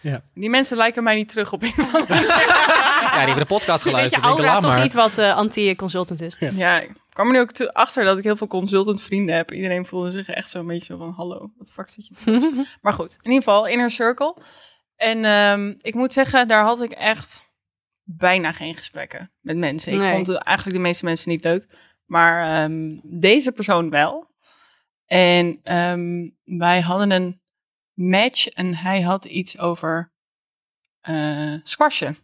A: Ja.
B: Die mensen liken mij niet terug op een of andere
A: Ja, die hebben de podcast
D: Weet je
A: geluisterd. Denk,
D: aura
A: laat
D: toch
A: maar.
D: iets wat eh, anti-consultant is?
B: Ja, ik kwam er nu ook toe- achter dat ik heel veel consultant vrienden heb. Iedereen voelde zich echt zo'n beetje zo van, hallo, wat fuck zit je te doen? Maar goed, in ieder geval, Inner Circle. En ehm, ik moet zeggen, daar had ik echt bijna geen gesprekken met mensen. Ik
D: Nee.
B: vond het eigenlijk de meeste mensen niet leuk. Maar ehm, deze persoon wel. En ehm, wij hadden een match en hij had iets over eh squashen.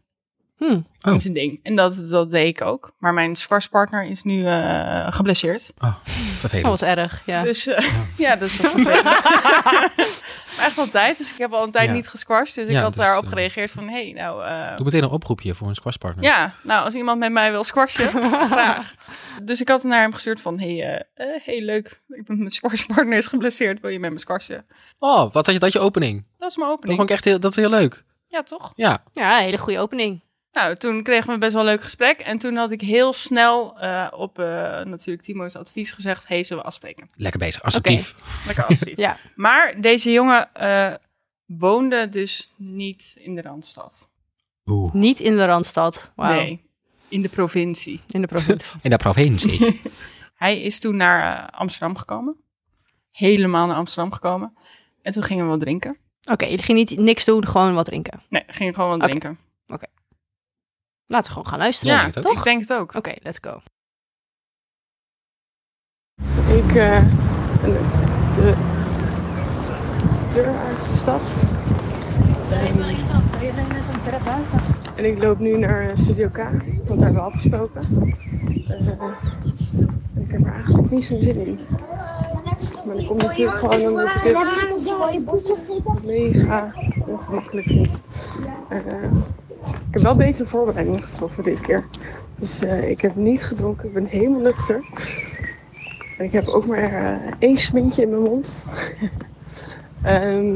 D: Hmm.
A: Oh.
B: Dat is een ding. En dat, dat deed ik ook. Maar mijn squashpartner is nu eh, geblesseerd.
D: Dat
A: Oh, Vervelend.
D: was erg, ja.
B: Dus eh, ja, dus dat Maar echt al tijd. Dus ik heb al een tijd
A: Ja.
B: niet gesquashed. Dus ik
A: Ja,
B: had
A: dat is,
B: daarop
A: eh,
B: gereageerd van... Hé, hey, nou... eh,
A: Doe meteen een oproepje voor een squashpartner.
B: ja, nou, als iemand met mij wil squashen, graag. Dus ik had naar hem gestuurd van... Hé, hey, eh, eh, hey, leuk. Ik ben, mijn squashpartner is geblesseerd. Wil je met me squashen?
A: Oh, wat had je dat je opening?
B: Dat is mijn
A: Dat
B: opening.
A: vond ik echt heel, dat is heel leuk.
B: Ja, toch?
A: Ja.
D: Ja, een hele goede opening.
B: Nou, toen kregen we best wel een leuk gesprek. En toen had ik heel snel eh, op eh, natuurlijk Timo's advies gezegd... Hé, hey, zullen we afspreken?
A: Lekker bezig, assertief.
B: Lekker afspreken.
D: Ja.
B: Maar deze jongen eh, woonde dus niet in de Randstad.
A: Oeh.
D: Niet in de Randstad. Wauw.
B: Nee, in de provincie.
D: In de provincie.
A: En daar provincie.
B: Hij is toen naar eh, Amsterdam gekomen. Helemaal naar Amsterdam gekomen. En toen gingen we wat drinken.
D: Oké, je ging niet niks doen, gewoon wat drinken.
B: Nee, gingen we gewoon wat
D: Oké.
B: drinken.
D: Laten we gewoon gaan luisteren.
B: Ja,
A: ik denk het ook.
B: ik denk het ook.
D: Oké, let's go.
C: Ik eh, ben de, de deur uitgestapt en ik loop nu naar eh, Studio K, want daar hebben we afgesproken. Eh, en ik heb er eigenlijk niet zo'n zin in. Maar dat komt natuurlijk gewoon omdat ik het mega ongemakkelijk vind. Eh, ik heb wel betere voorbereidingen getroffen dit keer. Dus eh, ik heb niet gedronken, ik ben helemaal nuchter. En ik heb ook maar eh, één smintje in mijn mond. Ehm,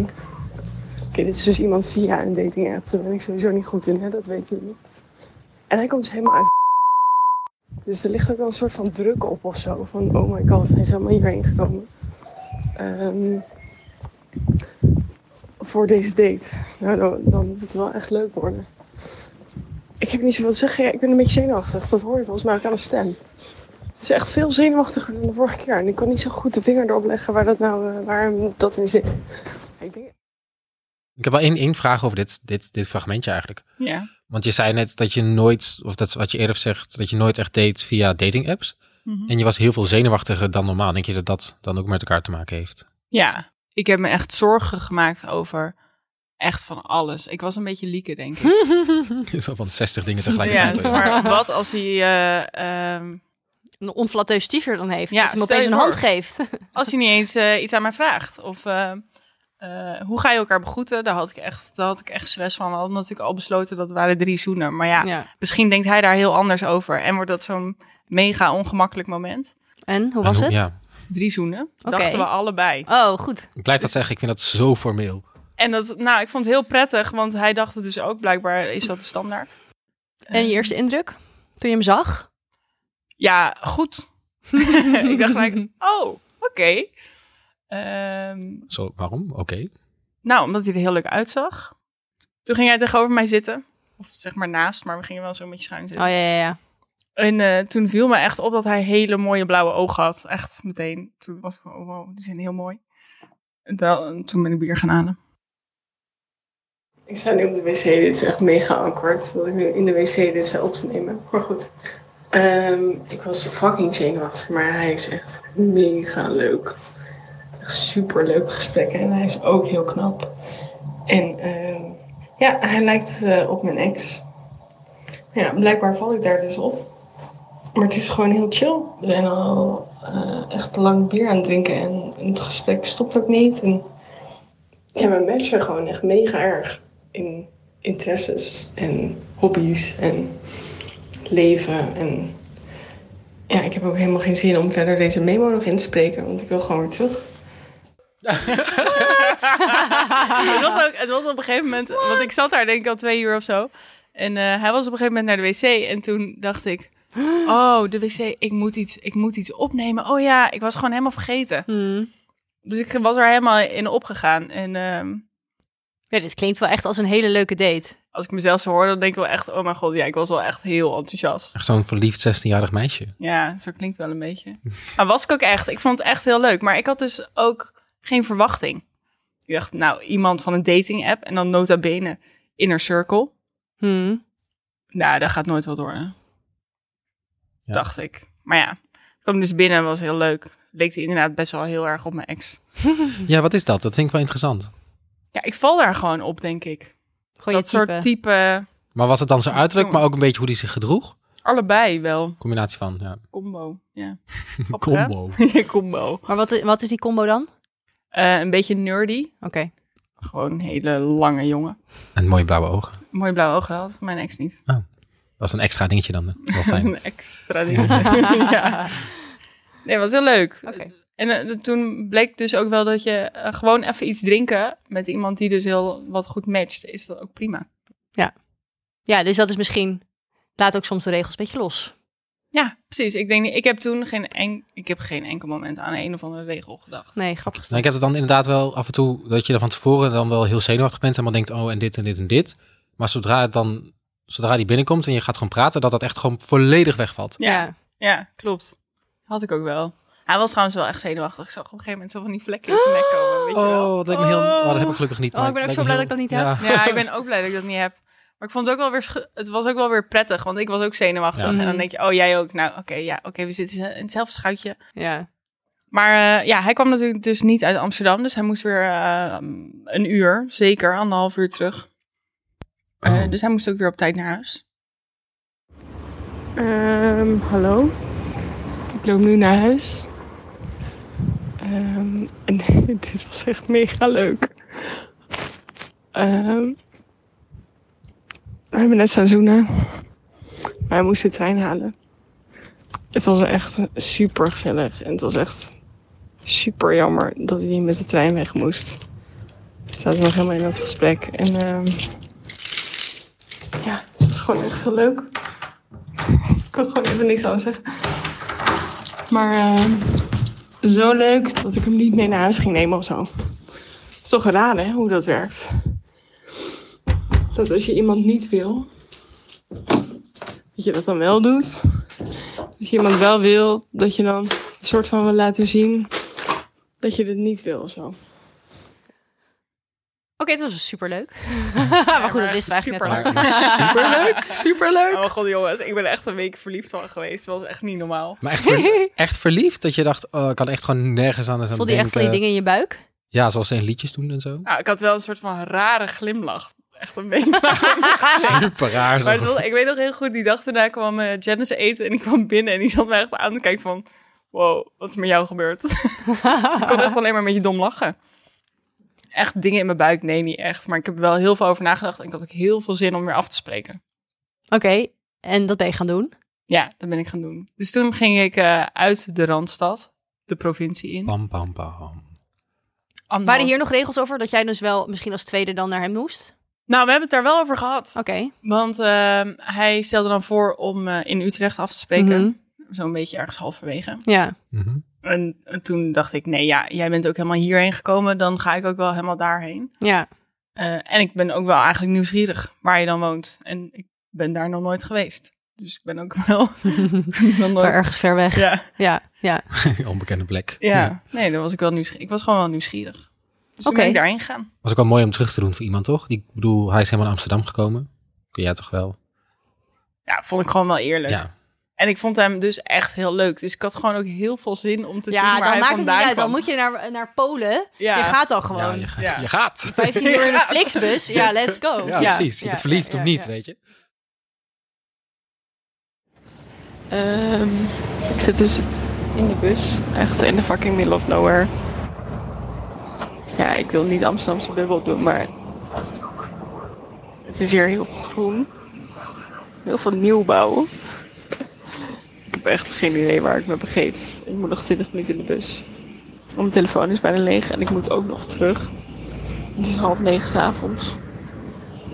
C: Oké, dit is dus iemand via een dating app. Daar ben ik sowieso niet goed in, hè? dat weten jullie. En hij komt dus helemaal uit. Dus er ligt ook wel een soort van druk op of zo. Van oh my god, hij is helemaal hierheen gekomen. Ehm, voor deze date. Nou, dan, dan moet het wel echt leuk worden. Ik heb niet zoveel te zeggen. Ja, ik ben een beetje zenuwachtig. Dat hoor je volgens mij ook aan mijn stem. Het is echt veel zenuwachtiger dan de vorige keer. En ik kan niet zo goed de vinger erop leggen waar dat, nou, eh, waar dat in zit. Ik denk,
A: ik heb wel één, één vraag over dit, dit, dit fragmentje eigenlijk.
B: Ja.
A: Want je zei net dat je nooit, of dat is wat je eerder zegt, dat je nooit echt date via dating apps.
B: Mhm.
A: En je was heel veel zenuwachtiger dan normaal. Denk je dat dat dan ook met elkaar te maken heeft?
B: ja, ik heb me echt zorgen gemaakt over echt van alles. Ik was een beetje lieken, denk ik.
A: Zo van 60 dingen
B: Ja, dus
A: tegelijkertijd.
D: het
A: Ja,
D: antwoord.
B: maar wat als hij, eh, ehm,
D: Een onflatteus t-shirt dan heeft.
B: Ja,
D: dat hij me
B: stel je
D: opeens een
B: voor.
D: hand geeft.
B: als hij niet eens eh, iets aan mij vraagt? Of eh, eh, hoe ga je elkaar begroeten? Daar had ik echt, daar had ik echt stress van. We hadden natuurlijk al besloten dat het waren drie zoenen. Maar ja,
D: Ja.
B: misschien denkt hij daar heel anders over. En wordt dat zo'n mega ongemakkelijk moment.
D: En, hoe was het?
A: Ja.
B: Drie zoenen,
D: Oké.
B: dachten we allebei.
D: Oh, goed.
A: Ik blijf dat zeggen, ik vind dat zo formeel.
B: En dat, nou, ik vond het heel prettig, want hij dacht het dus ook. Blijkbaar is dat de standaard.
D: En je eerste indruk? Toen je hem zag?
B: Ja, goed. ik dacht gelijk, oh, oké. Ehm,
A: Zo, waarom? Oké.
B: Nou, omdat hij er heel leuk uitzag. Toen ging hij tegenover mij zitten. Of zeg maar naast, maar we gingen wel zo'n beetje schuin
D: Oh,
B: zitten.
D: ja, ja, ja.
B: En eh, toen viel me echt op dat hij hele mooie blauwe ogen had. Echt meteen. Toen was ik van, oh wow, die zijn heel mooi. En toen, toen ben ik bier gaan halen.
C: Ik sta nu op de wc, dit is echt mega awkward dat ik nu in de wc dit zou op te nemen. Maar goed. Ehm, ik was fucking zenuwachtig, maar hij is echt mega leuk. Echt super leuk gesprek en hij is ook heel knap. En ehm, ja, hij lijkt eh, op mijn ex. Ja, blijkbaar val ik daar dus op. Maar het is gewoon heel chill. We zijn al eh, echt lang bier aan het drinken en het gesprek stopt ook niet. En... Ja, we matchen gewoon echt mega erg in interesses en hobby's en leven. En ja, ik heb ook helemaal geen zin om verder deze memo nog in te spreken, want ik wil gewoon weer terug.
B: het, was ook, het was op een gegeven moment, want ik zat daar denk ik al twee uur of zo. En eh, hij was op een gegeven moment naar de wc en toen dacht ik, oh, de wc, ik moet iets, ik moet iets opnemen. Oh ja, ik was gewoon helemaal vergeten.
D: Hmm.
B: Dus ik was er helemaal in opgegaan. En ehm,
D: Ja, dit klinkt wel echt als een hele leuke date.
B: als ik mezelf zo hoor, dan denk ik wel echt, oh mijn god, ja, ik was wel echt heel enthousiast.
A: Echt zo'n verliefd 16-jarig meisje.
B: Ja, zo klinkt wel een beetje. Maar was ik ook echt. Ik vond het echt heel leuk. Maar ik had dus ook geen verwachting. Ik dacht, nou, iemand van een dating app en dan nota bene inner circle.
D: Hmm.
B: Nou, dat gaat nooit wat worden.
A: Ja.
B: Dacht ik. Maar ja, ik kwam dus binnen, was heel leuk. Leek hij inderdaad best wel heel erg op mijn ex.
A: Ja, wat is dat? Dat vind ik wel interessant.
B: Ja, ik val daar gewoon op, denk ik.
D: Gewoon
B: dat
D: je type.
B: soort type,
A: Maar was het dan zijn uiterlijk, maar ook een beetje hoe die zich gedroeg?
B: allebei wel.
A: Combinatie van, ja.
B: Combo, ja. Grappig, hè?
A: Combo.
B: Ja, combo.
D: Maar wat, i- wat is die combo dan?
B: Eh, een beetje nerdy.
D: Oké.
B: Gewoon een hele lange jongen.
A: En mooie blauwe ogen.
B: Mooi blauwe ogen had mijn ex niet.
A: Dat is een extra dingetje dan. hè? Wel fijn.
B: Een extra dingetje. ja. Nee, was heel leuk.
D: Oké.
B: En eh, toen bleek dus ook wel dat je eh, gewoon even iets drinken met iemand die dus heel wat goed matcht, is dat ook prima.
D: Ja, dus dat is misschien... Laat ook soms de regels een beetje los.
B: Ja, precies. Ik denk niet, ik heb toen geen, en, ik heb geen enkel moment aan een of andere regel gedacht.
D: Nee, grappig.
A: Nou, ik heb het dan inderdaad wel af en toe dat je er van tevoren dan wel heel zenuwachtig bent en dan denkt, oh en dit en dit en dit. Maar zodra het dan, zodra die binnenkomt en je gaat gewoon praten, dat dat echt gewoon volledig wegvalt.
B: Ja, ja. klopt. Had ik ook wel. Hij was trouwens wel echt zenuwachtig. Ik zag op een gegeven moment zo van die vlekken in zijn nek komen. Weet je wel.
A: Oh, dat lijkt me heel. Oh, dat heb ik
D: Oh.
A: gelukkig niet.
D: Oh,
A: maar
D: ik ben ook
A: het
D: zo blij
A: lijkt me
D: dat ik
A: heel-
D: dat
B: Ja, ik ben ook blij dat ik dat niet heb. Maar ik vond het ook wel weer, schu- het was ook wel weer prettig, want ik was ook zenuwachtig.
A: Ja.
B: En dan denk je, oh jij ook. Nou, oké, ja, oké, we zitten in hetzelfde schuitje.
D: Ja.
B: Maar eh, ja, hij kwam natuurlijk dus niet uit Amsterdam. Dus hij moest weer eh, een uur, zeker anderhalf uur terug. Eh,
A: Ja. Oh.
B: Dus hij moest ook weer op tijd naar huis.
C: Ehm, hallo. Ik loop nu naar huis. Ehm, en dit was echt mega leuk. Ehm, we hebben net staan zoenen. Maar hij moest de trein halen. Het was echt super gezellig. En het was echt super jammer dat hij met de trein weg moest. We zaten nog helemaal in dat gesprek. En ehm, ja, het was gewoon echt heel leuk. Ik kan gewoon even niks aan zeggen. Maar ehm, zo leuk dat ik hem niet mee naar huis ging nemen of zo. is toch raar hè, hoe dat werkt. Dat als je iemand niet wil, dat je dat dan wel doet. Als je iemand wel wil, dat je dan een soort van wil laten zien dat je het niet wil of zo.
D: Oké, het was dus superleuk. Ah, maar goed, dat
B: echt
D: wisten we eigenlijk net
A: Maar,
D: al.
B: superleuk.
A: maar superleuk, superleuk.
B: Oh,
D: Oh.
B: god jongens, ik ben echt een week verliefd van geweest. Dat was echt niet normaal.
A: Maar echt, ver- echt verliefd dat je dacht, oh, ik kan echt gewoon nergens anders aan
D: Voelde je
A: denken.
D: echt van die dingen in je buik?
A: Ja, zoals ze in liedjes doen en zo.
B: Nou, ik had wel een soort van rare glimlach. Echt een beetje.
D: Ah,
A: Super raar.
B: maar het
A: Zo.
B: was- ik weet nog heel goed, die dag daarna kwam eh, Janice eten en ik kwam binnen en die zat mij echt aan te kijken van... Wow, wat is met jou gebeurd? ik kon echt alleen maar met je dom lachen. Echt dingen in mijn buik, nee, niet echt. Maar ik heb er wel heel veel over nagedacht en ik had ook heel veel zin om weer af te spreken.
D: Oké, en dat ben je gaan doen?
B: Ja, dat ben ik gaan doen. Dus toen ging ik eh, uit de Randstad, de provincie in.
A: Pam, pam, pam.
B: Anderhalf-
D: Waren hier nog regels over dat jij dus wel misschien als tweede dan naar hem moest?
B: Nou, we hebben het daar wel over gehad.
D: Oké.
B: Want ehm, hij stelde dan voor om eh, in Utrecht af te spreken. Zo'n beetje ergens halverwege.
D: Mhm. Ja.
A: Mhm.
B: En, en toen dacht ik, nee ja, jij bent ook helemaal hierheen gekomen. Dan ga ik ook wel helemaal daarheen.
D: Ja.
B: Eh, en ik ben ook wel eigenlijk nieuwsgierig waar je dan woont. En ik ben daar nog nooit geweest. Dus ik ben ook wel nog
D: Maar
B: nooit...
D: ergens ver weg. Ja. Dus
B: Ja,
D: Ja. ja.
A: Onbekende plek.
B: ja, nee, dan was ik wel nieuwsgierig. Ik was gewoon wel nieuwsgierig. Dus toen
D: Oké.
B: ben ik daarheen gegaan.
A: Was ook wel mooi om terug te doen voor iemand, toch? Die, ik bedoel, hij is helemaal naar Amsterdam gekomen. Kun jij toch wel?
B: Ja, vond ik gewoon wel eerlijk.
A: Ja.
B: En ik vond hem dus echt heel leuk. Dus ik had gewoon ook heel veel zin om te zien waar
D: dan
B: hij
D: maakt het niet
B: vandaan
D: uit.
B: kwam.
D: Dan moet je naar, naar Polen.
B: Ja.
D: Je gaat al
A: Ja,
D: gewoon.
A: je, gaat-
B: Ja.
A: je gaat.
D: 15 uur in
B: Ja.
D: een Flixbus. Ja, let's go.
A: Ja, precies. Je
D: ja,
A: bent verliefd
D: ja,
A: of niet,
D: ja.
A: weet je.
C: Ehm, ik zit dus in de bus, echt in de fucking middle of nowhere. Ja, ik wil niet Amsterdamse bubbel doen, maar het is hier heel groen. Heel veel nieuwbouw. Ik heb echt geen idee waar ik me begeef. Ik moet nog 20 minuten in de bus. Mijn telefoon is bijna leeg en ik moet ook nog terug. Het is half negen 's avonds.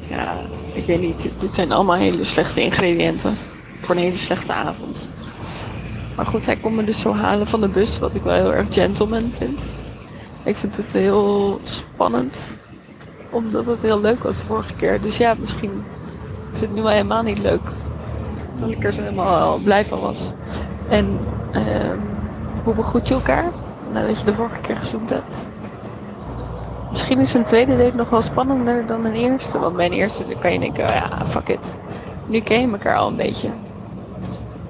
C: Ja, ik weet niet. dit- Dit zijn allemaal hele slechte ingrediënten voor een hele slechte avond. Maar goed, hij kon me dus zo halen van de bus, wat ik wel heel erg gentleman vind. Ik vind het heel spannend, omdat het heel leuk was de vorige keer. Dus ja, misschien is het nu wel helemaal niet leuk. Dat ik er zo helemaal blij van was. En ehm, hoe begroet je elkaar nadat je de vorige keer gezoend hebt? Misschien is een tweede date nog wel spannender dan een eerste. Want bij een eerste dan kan je denken, oh ja, fuck it. Nu ken je elkaar al een beetje.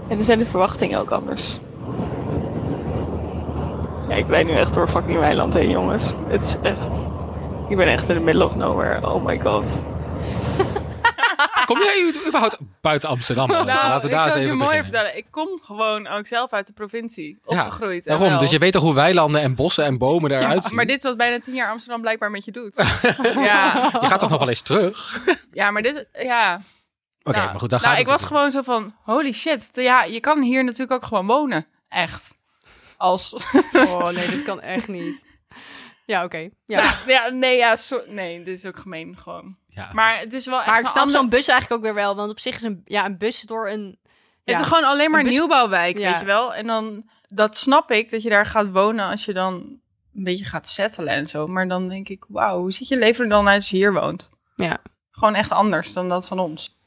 C: En dan zijn de verwachtingen ook anders. Ja, ik ben nu echt door fucking Weiland heen, jongens. Het is echt... Ik ben echt in the middle of nowhere. Oh my god.
A: Kom jij überhaupt buiten Amsterdam?
B: Nou,
A: Laten we daar eens
B: ik zou het je
A: even
B: mooier
A: beginnen.
B: vertellen. Ik kom gewoon ook zelf uit de provincie.
A: Ja,
B: Opgegroeid. en
A: Daarom,
B: wel.
A: dus je weet toch hoe weilanden en bossen en bomen eruit zien?
B: Maar dit is wat bijna tien jaar Amsterdam blijkbaar met je doet. ja.
A: Je gaat toch nog wel eens terug?
B: ja, maar dit... Ja.
A: Oké,
B: nou,
A: maar goed, daar
B: nou,
A: gaat
B: ik was gewoon zo van, holy shit. Ja, je kan hier natuurlijk ook gewoon wonen. Echt. Als...
D: Oh nee, dit kan echt niet. Ja, oké. Ja.
B: ja, nee, ja, so- nee, dit is ook gemeen gewoon.
A: Ja.
B: Maar het is wel echt
D: Maar ik
B: een
D: snap
B: ander-
D: zo'n bus eigenlijk ook weer wel. Want op zich is een, ja, een bus door een...
B: Het
D: Ja.
B: is gewoon alleen maar
D: Een
B: een
D: bus-
B: nieuwbouwwijk,
D: Ja.
B: weet je wel. En dan, dat snap ik, dat je daar gaat wonen als je dan een beetje gaat settelen en zo. Maar dan denk ik, wauw, hoe ziet je leven er dan uit als je hier woont?
D: Ja.
B: Gewoon echt anders dan dat van ons.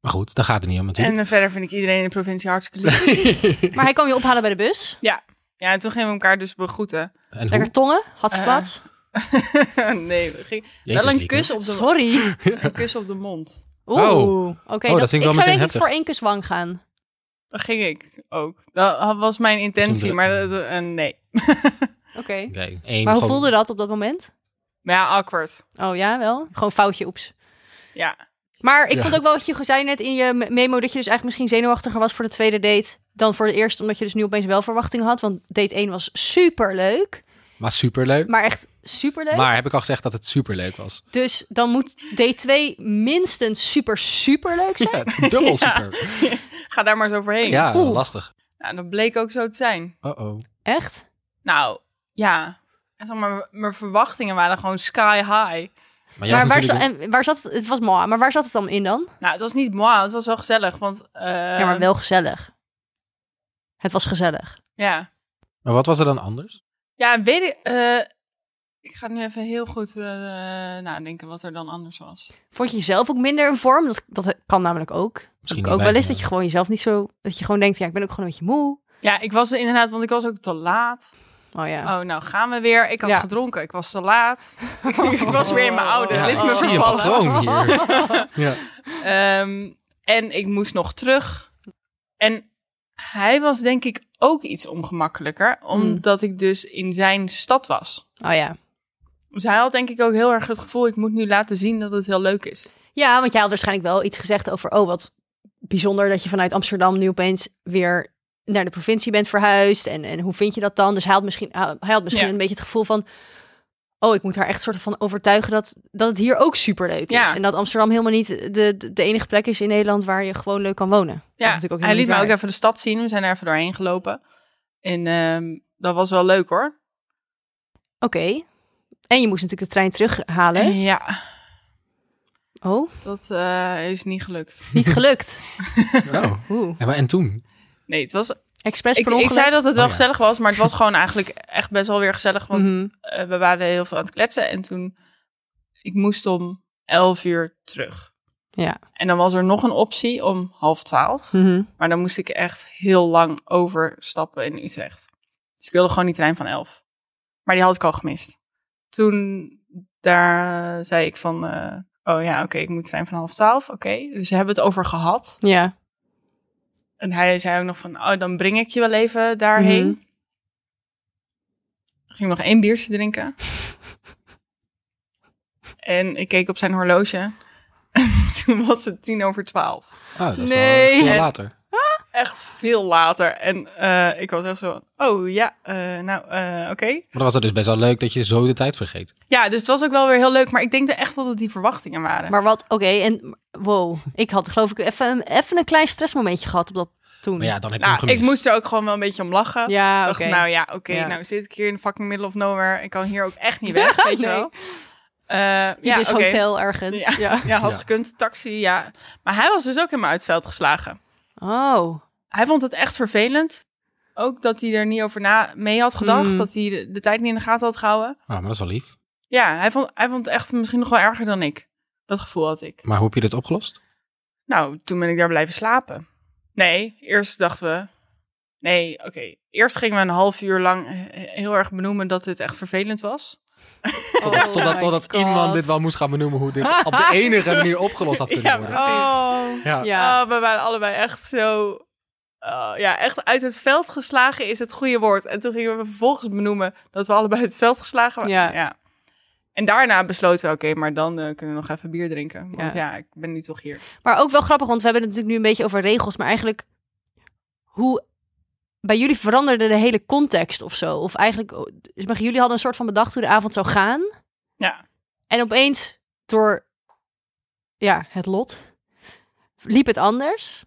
A: Maar goed, daar gaat het niet om natuurlijk.
B: En eh, verder vind ik iedereen in de provincie hartstikke leuk.
D: Maar hij kwam je ophalen bij de bus.
B: ja, en toen gingen we elkaar dus begroeten.
A: En,
D: Lekker tongen. Had ze
B: Eh,
D: plaats.
B: nee, we gingen
A: Jezus,
B: wel een
A: Lieke.
B: kus, op de,
D: Sorry.
B: een kus op de mond.
D: Oeh.
A: Oh.
D: Oké,
A: dat vind ik
D: dat,
A: wel
D: ik zou
A: meteen
D: denk ik
A: heftig.
D: voor één kus wang gaan.
B: Dat ging ik ook. Dat had- was mijn intentie,
A: Zonder-
B: maar dat, eh, nee.
D: Oké.
A: Oké, één
D: Maar hoe
A: gewoon-
D: voelde dat op dat moment?
B: Maar ja, awkward.
D: Oh ja, wel. Gewoon foutje, oeps.
B: Ja.
D: Maar ik
A: Ja.
D: vond ook wel wat je zei net in je me- memo... dat je dus eigenlijk misschien zenuwachtiger was voor de tweede date... dan voor de eerste, omdat je dus nu opeens wel verwachtingen had. Want date 1 was superleuk.
A: Maar superleuk.
D: Maar echt superleuk.
A: Maar heb ik al gezegd dat het superleuk was?
D: Dus dan moet date 2 minstens super, superleuk zijn.
A: Ja, dubbel super.
B: Ga daar maar eens overheen.
A: Ja,
D: Oeh.
A: lastig.
B: Nou, dat bleek ook zo te zijn.
A: Uh-oh.
D: Echt?
B: Nou, ja. Zeg maar, mijn verwachtingen waren gewoon sky high.
A: Maar,
D: maar waar,
A: zat
D: za- en waar zat het? Het was mooi, maar waar zat het dan in dan?
B: Nou, het was niet mooi, het was wel gezellig, want... eh,
D: ja, maar wel gezellig. Het was gezellig.
B: Ja,
A: maar wat was er dan anders?
B: ja weet ik... eh, ik ga nu even heel goed eh nadenken wat er dan anders was.
D: Vond je jezelf ook minder in vorm? Dat, dat kan namelijk ook.
A: Misschien
D: ook
A: dat wij-
D: wel eens dat je gewoon jezelf niet zo... Dat je gewoon denkt, ja, ik ben ook gewoon een beetje moe.
B: Ja, ik was er inderdaad, want ik was ook te laat.
D: Oh ja.
B: Oh, nou gaan we weer. Ik had
D: Ja.
B: gedronken, ik was te laat. ik was weer in mijn oude
A: Ja,
B: ritme
A: ik zie een
B: vervallen.
A: patroon hier. ja.
B: Ehm, en ik moest nog terug. En hij was denk ik ook iets ongemakkelijker, omdat ik dus in zijn stad was.
D: Oh ja.
B: Dus hij had denk ik ook heel erg het gevoel, ik moet nu laten zien dat het heel leuk is.
D: Ja, want jij had waarschijnlijk wel iets gezegd over... Oh, wat bijzonder dat je vanuit Amsterdam nu opeens weer naar de provincie bent verhuisd. En, en hoe vind je dat dan? Dus hij had misschien, hij had misschien
B: Ja.
D: een beetje het gevoel van... Oh, ik moet haar echt soort van overtuigen dat, dat het hier ook superleuk is.
B: Ja.
D: En dat Amsterdam helemaal niet de, de, de enige plek is in Nederland waar je gewoon leuk kan wonen. Dat is
B: Ja,
D: natuurlijk ook
B: hij liet mij
D: helemaal
B: ook
D: niet
B: even de stad zien. We zijn er even doorheen gelopen. En ehm, dat was wel leuk hoor.
D: waar. Oké. En je moest natuurlijk de trein terughalen.
B: Eh, Ja,
D: Oh,
B: dat eh, is niet gelukt.
D: niet gelukt.
A: Oh.
D: Oeh.
A: En, maar- en toen?
B: Nee, het was...
D: Expres
B: Ik,
D: per
B: ik
D: ongeluk.
B: zei dat het wel
A: Oh ja.
B: gezellig was, maar het was gewoon eigenlijk echt best wel weer gezellig. Want
D: Mhm.
B: eh, we waren heel veel aan het kletsen. En toen, ik moest om 11 uur terug.
D: Ja.
B: En dan was er nog een optie om half twaalf.
D: Mhm.
B: Maar dan moest ik echt heel lang overstappen in Utrecht. Dus ik wilde gewoon die trein van 11. Maar die had ik al gemist. Toen daar zei ik van, eh, oh ja, oké, ik moet de trein van half twaalf. Oké, dus we hebben het over gehad.
D: Ja.
B: En hij zei ook nog van, oh, dan breng ik je wel even daarheen.
D: Mhm.
B: Ging nog één biertje drinken. en ik keek op zijn horloge. Toen was het tien over twaalf.
A: Oh, dat is
D: Nee.
A: wel veel later.
B: Echt veel later. En eh, ik was echt zo van, oh ja, eh, nou, eh, oké.
A: Maar dan was het dus best wel leuk dat je zo de tijd vergeet.
B: Ja, dus het was ook wel weer heel leuk. Maar ik denk echt dat het die verwachtingen waren.
D: Maar wat, oké, en wow, ik had geloof ik even, een- even een klein stressmomentje gehad op dat toen.
A: Maar ja, dan heb je hem
B: nou,
A: gemist.
B: ik moest er ook gewoon wel een beetje om lachen.
D: ja
B: Ik
D: oké.
B: dacht, nou ja, oké,
D: Ja.
B: nou zit ik hier in fucking middle of nowhere. Ik kan hier ook echt niet weg, weet je
D: Nee.
B: wel. Eh, ja,
D: Ibis
B: oké.
D: hotel ergens.
B: Ja.
D: Ja.
B: Ja, had
A: Ja.
B: gekund, taxi, ja. Maar hij was dus ook helemaal uit het veld geslagen.
D: Oh,
B: Hij vond het echt vervelend. Ook dat hij er niet over na mee had gedacht.
D: Hmm.
B: Dat hij de, de tijd niet in de gaten had gehouden.
A: Ah, maar dat is wel lief.
B: Ja, hij vond, hij vond het echt misschien nog wel erger dan ik. Dat gevoel had ik.
A: Maar hoe heb je dit opgelost?
B: Nou, toen ben ik daar blijven slapen. Nee, eerst dachten we. Nee, oké. Eerst gingen we een half uur lang he- heel erg benoemen dat dit echt vervelend was.
D: Oh
A: totdat
D: my
A: totdat
D: God.
A: iemand dit
B: Oh.
A: wel moest gaan benoemen hoe dit op de enige manier opgelost had kunnen
B: Ja,
A: worden.
B: precies.
A: Ja.
D: ja.
B: Oh, we waren allebei echt zo. eh, ja, echt uit het veld geslagen is het goede woord. En toen gingen we vervolgens benoemen dat we allebei uit het veld geslagen waren.
D: Ja.
B: En daarna besloten we, oké, maar dan eh, kunnen we nog even bier drinken. Want
D: Ja.
B: ja. ik ben nu toch hier.
D: Maar ook wel grappig, want we hebben het natuurlijk nu een beetje over regels. Maar eigenlijk, hoe bij jullie veranderde de hele context of zo? Of eigenlijk, oh, dus maar jullie hadden een soort van bedacht hoe de avond zou gaan.
B: Ja.
D: En opeens, door ja, het lot, liep het anders.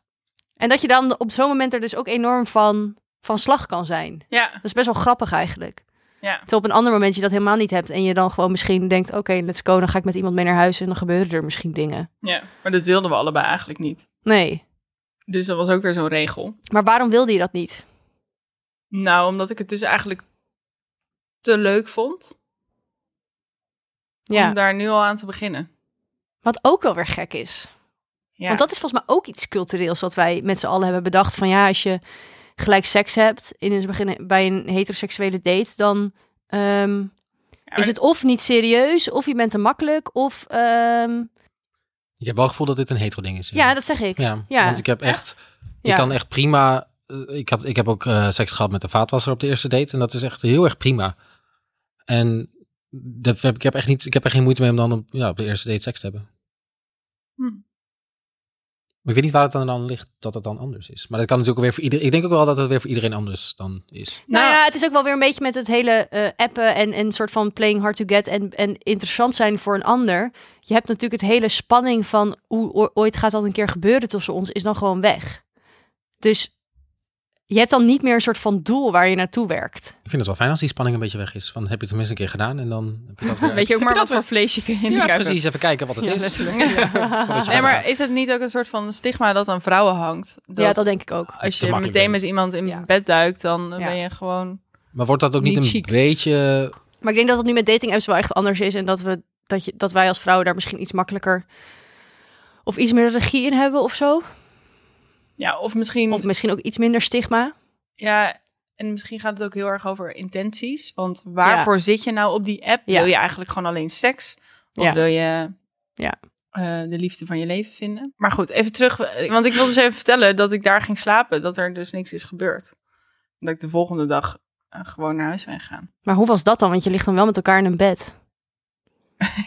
D: En dat je dan op zo'n moment er dus ook enorm van, van slag kan zijn.
B: Ja,
D: Dat is best wel grappig eigenlijk.
B: ja.
D: Terwijl op een ander moment je dat helemaal niet hebt. En je dan gewoon misschien denkt, oké, let's go. Dan ga ik met iemand mee naar huis en dan gebeuren er misschien dingen.
B: Ja, maar dat wilden we allebei eigenlijk niet.
D: Nee.
B: Dus dat was ook weer zo'n regel.
D: Maar waarom wilde je dat niet?
B: Nou, omdat ik het dus eigenlijk te leuk vond
D: Ja.
B: om daar nu al aan te beginnen.
D: Wat ook wel weer gek is.
B: Ja,
D: Want dat is volgens mij ook iets cultureels wat wij met z'n allen hebben bedacht. Van ja, als je gelijk seks hebt in een begin, bij een heteroseksuele date, dan ehm,
B: Ja,
D: is het of niet serieus, of je bent te makkelijk, of... ehm,
A: Ik heb wel het gevoel dat dit een hetero ding is.
D: ja, dat zeg ik.
A: Ja,
D: Ja.
A: want ik heb echt, je
D: Ja.
A: kan echt prima. eh, Ik, had, ik heb ook eh, seks gehad met een vaatwasser op de eerste date en dat is echt heel erg prima. En dat heb, ik, heb echt niet, ik heb er geen moeite mee om dan op, ja, op de eerste date seks te hebben.
B: Hm.
D: Nou
A: Maar ik weet niet waar het dan aan ligt dat het dan anders is. Maar dat kan natuurlijk ook weer voor iedereen. Ik denk ook wel dat het weer voor iedereen anders dan is.
D: Nou,
B: Nou.
D: ja, het is ook wel weer een beetje met het hele eh, appen en en een soort van playing hard to get en, en interessant zijn voor een ander. Je hebt natuurlijk het hele spanning van hoe o- ooit gaat dat een keer gebeuren tussen ons, is dan gewoon weg. Dus je hebt dan niet meer een soort van doel waar je naartoe werkt.
A: Ik vind het wel fijn als die spanning een beetje weg is. Van heb je het tenminste een keer gedaan en dan heb je dat weer.
B: weet je ook maar wat
A: dat
B: voor vleesje je in
A: ja,
B: de kuip hebt.
A: precies. Even kijken wat het
D: Ja,
A: is.
D: letterlijk.
A: Voordat je
B: Nee,
A: verder
B: maar is het niet ook een soort van stigma dat aan vrouwen hangt? Dat
D: Ah. ja, dat denk ik ook.
A: Als
B: als
A: je
B: je meteen
A: makkelijk bent.
B: met iemand in
D: Ja.
B: bed duikt, dan eh,
D: Ja.
B: ben je gewoon...
A: Maar wordt dat ook niet,
B: Niet
A: een
B: chic.
A: beetje...
D: Maar ik denk dat het nu met dating apps wel echt anders is en dat, we, dat, je, dat wij als vrouwen daar misschien iets makkelijker of iets meer regie in hebben of zo.
B: Ja, of misschien...
D: Of misschien ook iets minder stigma.
B: Ja, en misschien gaat het ook heel erg over intenties. Want waarvoor zit je nou op die app?
D: Ja.
B: Wil je eigenlijk gewoon alleen seks? Of
D: Ja.
B: wil je
D: Ja.
B: eh, de liefde van je leven vinden? Maar goed, even terug. Want ik wil dus even vertellen dat ik daar ging slapen. Dat er dus niks is gebeurd. Dat ik de volgende dag eh, gewoon naar huis ben gegaan.
D: Maar hoe was dat dan? Want je ligt dan wel met elkaar in een bed.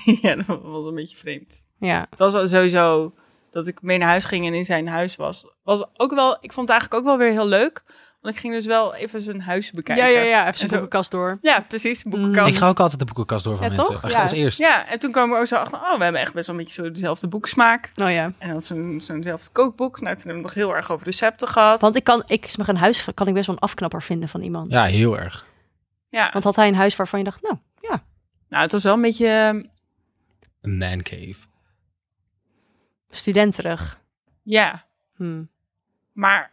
B: ja, dat was een beetje vreemd.
D: Ja.
B: Het was al sowieso dat ik mee naar huis ging en in zijn huis was. was ook wel, ik vond het eigenlijk ook wel weer heel leuk. Want ik ging dus wel even zijn huis bekijken.
D: ja. Mm. Even
B: zijn
D: boekenkast door.
B: Ja, precies.
D: Kan.
A: Ik ga ook altijd de boekenkast door van
D: Ja,
A: mensen.
D: toch?
A: Als-
D: Ja.
A: Als eerst.
B: Ja, en toen kwamen we ook zo achter, oh, we hebben echt best wel een beetje zo dezelfde boeksmaak.
D: Nou ja.
B: En had zo'n zo'nzelfde kookboek. Nou, toen hebben we het nog heel erg over recepten gehad.
D: Want ik kan, ik is maar een huis kan ik best wel een afknapper vinden van iemand.
A: Ja, heel erg.
B: Ja,
D: Want had hij een huis waarvan je dacht, nou,
B: nou, het was wel een beetje... ehm,
A: Een man cave.
D: studenterig.
B: Ja,
D: Hm.
B: maar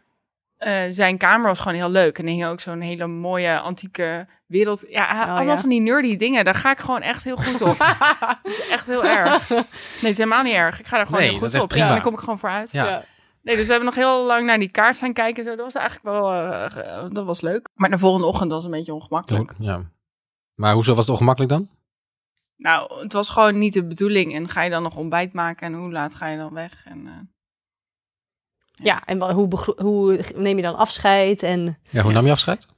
B: eh, zijn kamer was gewoon heel leuk. En er hing ook zo'n hele mooie antieke wereld. Ja, allemaal
D: ja.
B: van die nerdy dingen. Daar ga ik gewoon echt heel goed op. dat is echt heel erg. Nee, het is helemaal niet erg. Ik ga daar gewoon
A: Nee,
B: heel
A: dat is
B: goed
A: echt
B: op.
A: prima.
B: Ja, daar kom ik gewoon voor uit.
A: Ja.
B: Nee, dus we hebben nog heel lang naar die kaart staan kijken. en Zo. Dat was eigenlijk wel... eh, eh, dat was leuk. Maar de volgende ochtend was een beetje ongemakkelijk.
A: Ja. Maar hoezo was het ongemakkelijk dan?
B: Nou, het was gewoon niet de bedoeling. En ga je dan nog ontbijt maken en hoe laat ga je dan weg? En, eh,
D: Ja, en wel- hoe, begro- hoe neem je dan afscheid? En
A: Ja, hoe nam je afscheid?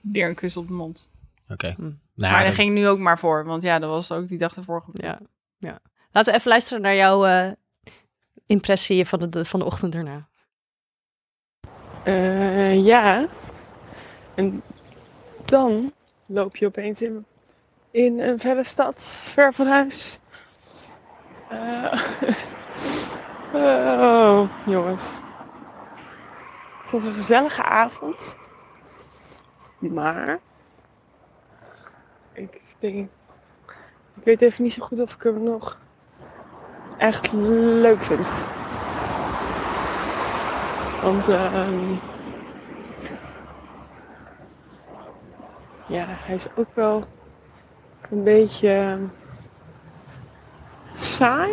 B: weer een kus op de mond.
A: Oké.
D: Hm.
A: Nou,
B: maar daar
A: dan-
B: ging ik nu ook maar voor. Want ja, dat was ook die dag ervoor gebeurd.
D: ja. ja. Laten we even luisteren naar jouw eh, impressie van de, de- van de ochtend daarna.
C: Eh, ja. En dan loop je opeens in, in een verre stad, ver van huis. Eh, oh, jongens. Het was een gezellige avond. Maar. Ik denk. Ik weet even niet zo goed of ik hem nog echt leuk vind. Want ehm, ja, hij is ook wel een beetje ehm, saai.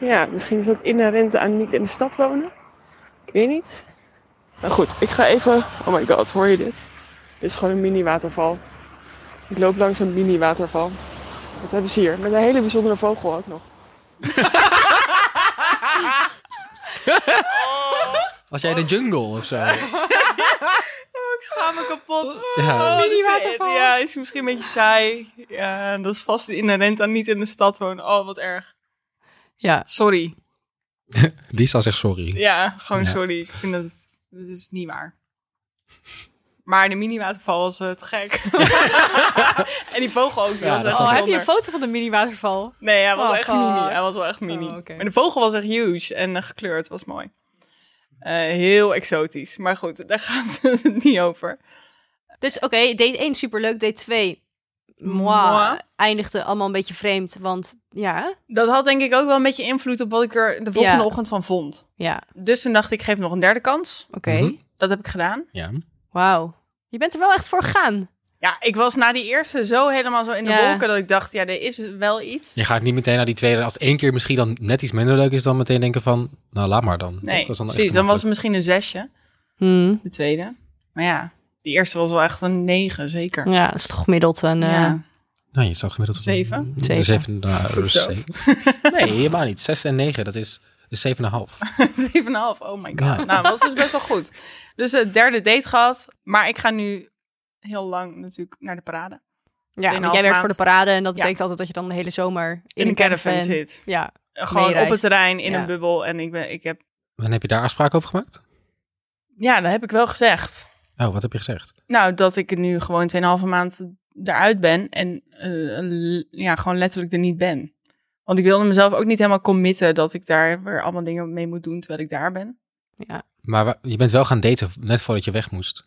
C: Ja, misschien is dat inherent aan niet in de stad wonen. Ik weet niet. Maar goed, ik ga even. Oh my god, hoor je dit? Dit is gewoon een mini waterval. Ik loop langs een mini waterval. Wat hebben ze hier? Met een hele bijzondere vogel ook nog.
A: Was jij de jungle of zo?
B: ik schaam me kapot.
A: Ja.
B: Oh,
D: Mini
B: dat is-
D: waterval.
B: Ja, is misschien een beetje saai. Ja, dat is vast inherent aan niet in de stad wonen. Oh, wat erg.
D: Ja.
B: Sorry.
A: Die zal zeggen sorry.
B: Ja, gewoon
A: Ja.
B: sorry. Ik vind dat, dat is niet waar. Maar de mini-waterval was eh, te gek. en die vogel ook. Die
A: Ja,
B: was
A: dat is
B: echt
D: Oh, heb je
B: bijzonder.
D: een foto van de mini-waterval?
B: Nee, hij was
D: Oh,
B: echt
D: fuck.
B: mini. Hij was wel echt mini.
D: Oh, oké.
B: Maar de vogel was echt huge en eh, gekleurd. was mooi. Eh, heel exotisch. Maar goed, daar gaat het niet over.
D: Dus oké, date 1 superleuk, date 2 moi,
B: Moi.
D: eindigde allemaal een beetje vreemd, want ja,
B: Dat had denk ik ook wel een beetje invloed op wat ik er de volgende
D: Ja.
B: ochtend van vond.
D: ja,
B: Dus toen dacht ik, ik geef nog een derde kans.
D: oké.
A: Mhm.
B: Dat heb ik gedaan.
A: Ja.
D: Wauw. Je bent er wel echt voor gegaan.
B: Ja, ik was na die eerste zo helemaal zo in de
D: Ja.
B: wolken dat ik dacht, ja, er is wel iets.
A: Je gaat niet meteen naar die tweede. Als het één keer misschien dan net iets minder leuk is, dan meteen denken van, nou laat maar dan.
B: Nee,
A: Toch? Dat is dan echt
B: precies.
A: te
B: Dan was
A: makkelijk.
B: het misschien een zesje,
D: Hmm.
B: de tweede. Maar ja, die eerste was wel echt een negen, zeker.
D: Ja, dat is toch gemiddeld een... eh,
B: Ja.
A: Nee, je staat gemiddeld op een-
B: Zeven?
A: de
D: Zeven.
A: Zeven. nou,
B: Goed zo.
A: zeven. Nee, helemaal niet. Zes en negen, dat is de zeven en een half.
B: 7,5, oh my god.
A: Ja.
B: Nou, was dus best wel goed. Dus het derde date gehad. Maar ik ga nu heel lang natuurlijk naar de parade.
D: Ja, want
B: 2,5
D: jij werkt
B: maand.
D: voor de parade en dat
B: Ja.
D: betekent altijd dat je dan de hele zomer in,
B: In, een caravan, zit.
D: Ja,
B: Gewoon
D: Meereist.
B: op het terrein, in
D: Ja.
B: een bubbel. En ik, ben, ik heb...
A: En heb je daar afspraken over gemaakt?
B: Ja, dat heb ik wel gezegd.
A: Oh, wat heb je gezegd?
B: Nou, dat ik nu gewoon 2,5 maand eruit ben. En eh, l- ja, gewoon letterlijk er niet ben. Want ik wilde mezelf ook niet helemaal committen dat ik daar weer allemaal dingen mee moet doen terwijl ik daar ben.
A: Maar wa- je bent wel gaan daten net voordat je weg moest.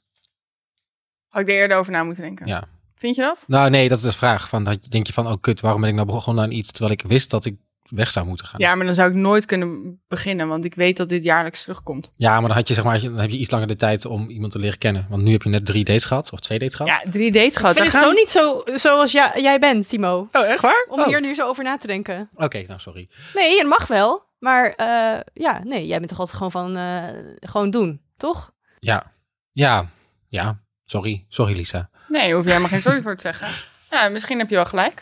B: Had ik er eerder over na moeten denken.
A: Ja.
B: Vind je dat?
A: Nou nee, dat is de vraag. Van, dat denk je van, oh kut, waarom ben ik nou begonnen aan iets terwijl ik wist dat ik weg zou moeten gaan?
B: Ja, maar dan zou ik nooit kunnen beginnen, want ik weet dat dit jaarlijks terugkomt.
A: Ja, maar dan, had je, zeg maar, dan heb je iets langer de tijd om iemand te leren kennen. Want nu heb je net drie dates gehad, of twee dates gehad.
B: Ja, drie dates gehad.
D: Ik vind
B: daar
D: het zo
B: gaan-
D: niet zo, zoals ja- jij bent, Timo.
A: Oh, echt waar?
D: Om
A: Oh,
D: hier nu zo over na te denken.
A: Oké, nou sorry.
D: Nee, het mag wel. Maar eh, ja, nee, jij bent toch altijd gewoon van, eh, gewoon doen, toch?
A: Ja, ja, ja, sorry. Sorry Lisa. Maar,
B: Nee, hoef je helemaal geen sorry voor te zeggen. Ja, misschien heb je wel gelijk.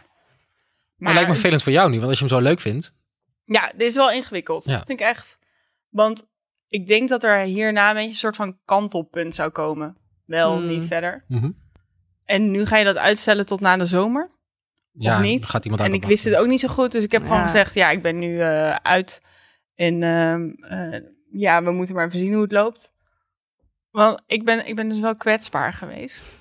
B: Maar,
A: het lijkt me vervelend voor jou nu, want als je hem zo leuk vindt.
B: ja, dit is wel ingewikkeld.
A: Ja.
B: Vind ik echt. Want ik denk dat er hierna een beetje een soort van kantelpunt zou komen. Wel,
D: Hmm.
B: niet verder.
A: Mhm.
B: En nu ga je dat uitstellen tot na de zomer,
A: Ja,
B: of niet?
A: dan gaat iemand
B: en ik wist het ook niet zo goed, dus ik heb
D: Ja.
B: gewoon gezegd... ja, ik ben nu eh, uit en ehm, eh, ja, we moeten maar even zien hoe het loopt. Want ik ben, ik ben dus wel kwetsbaar geweest.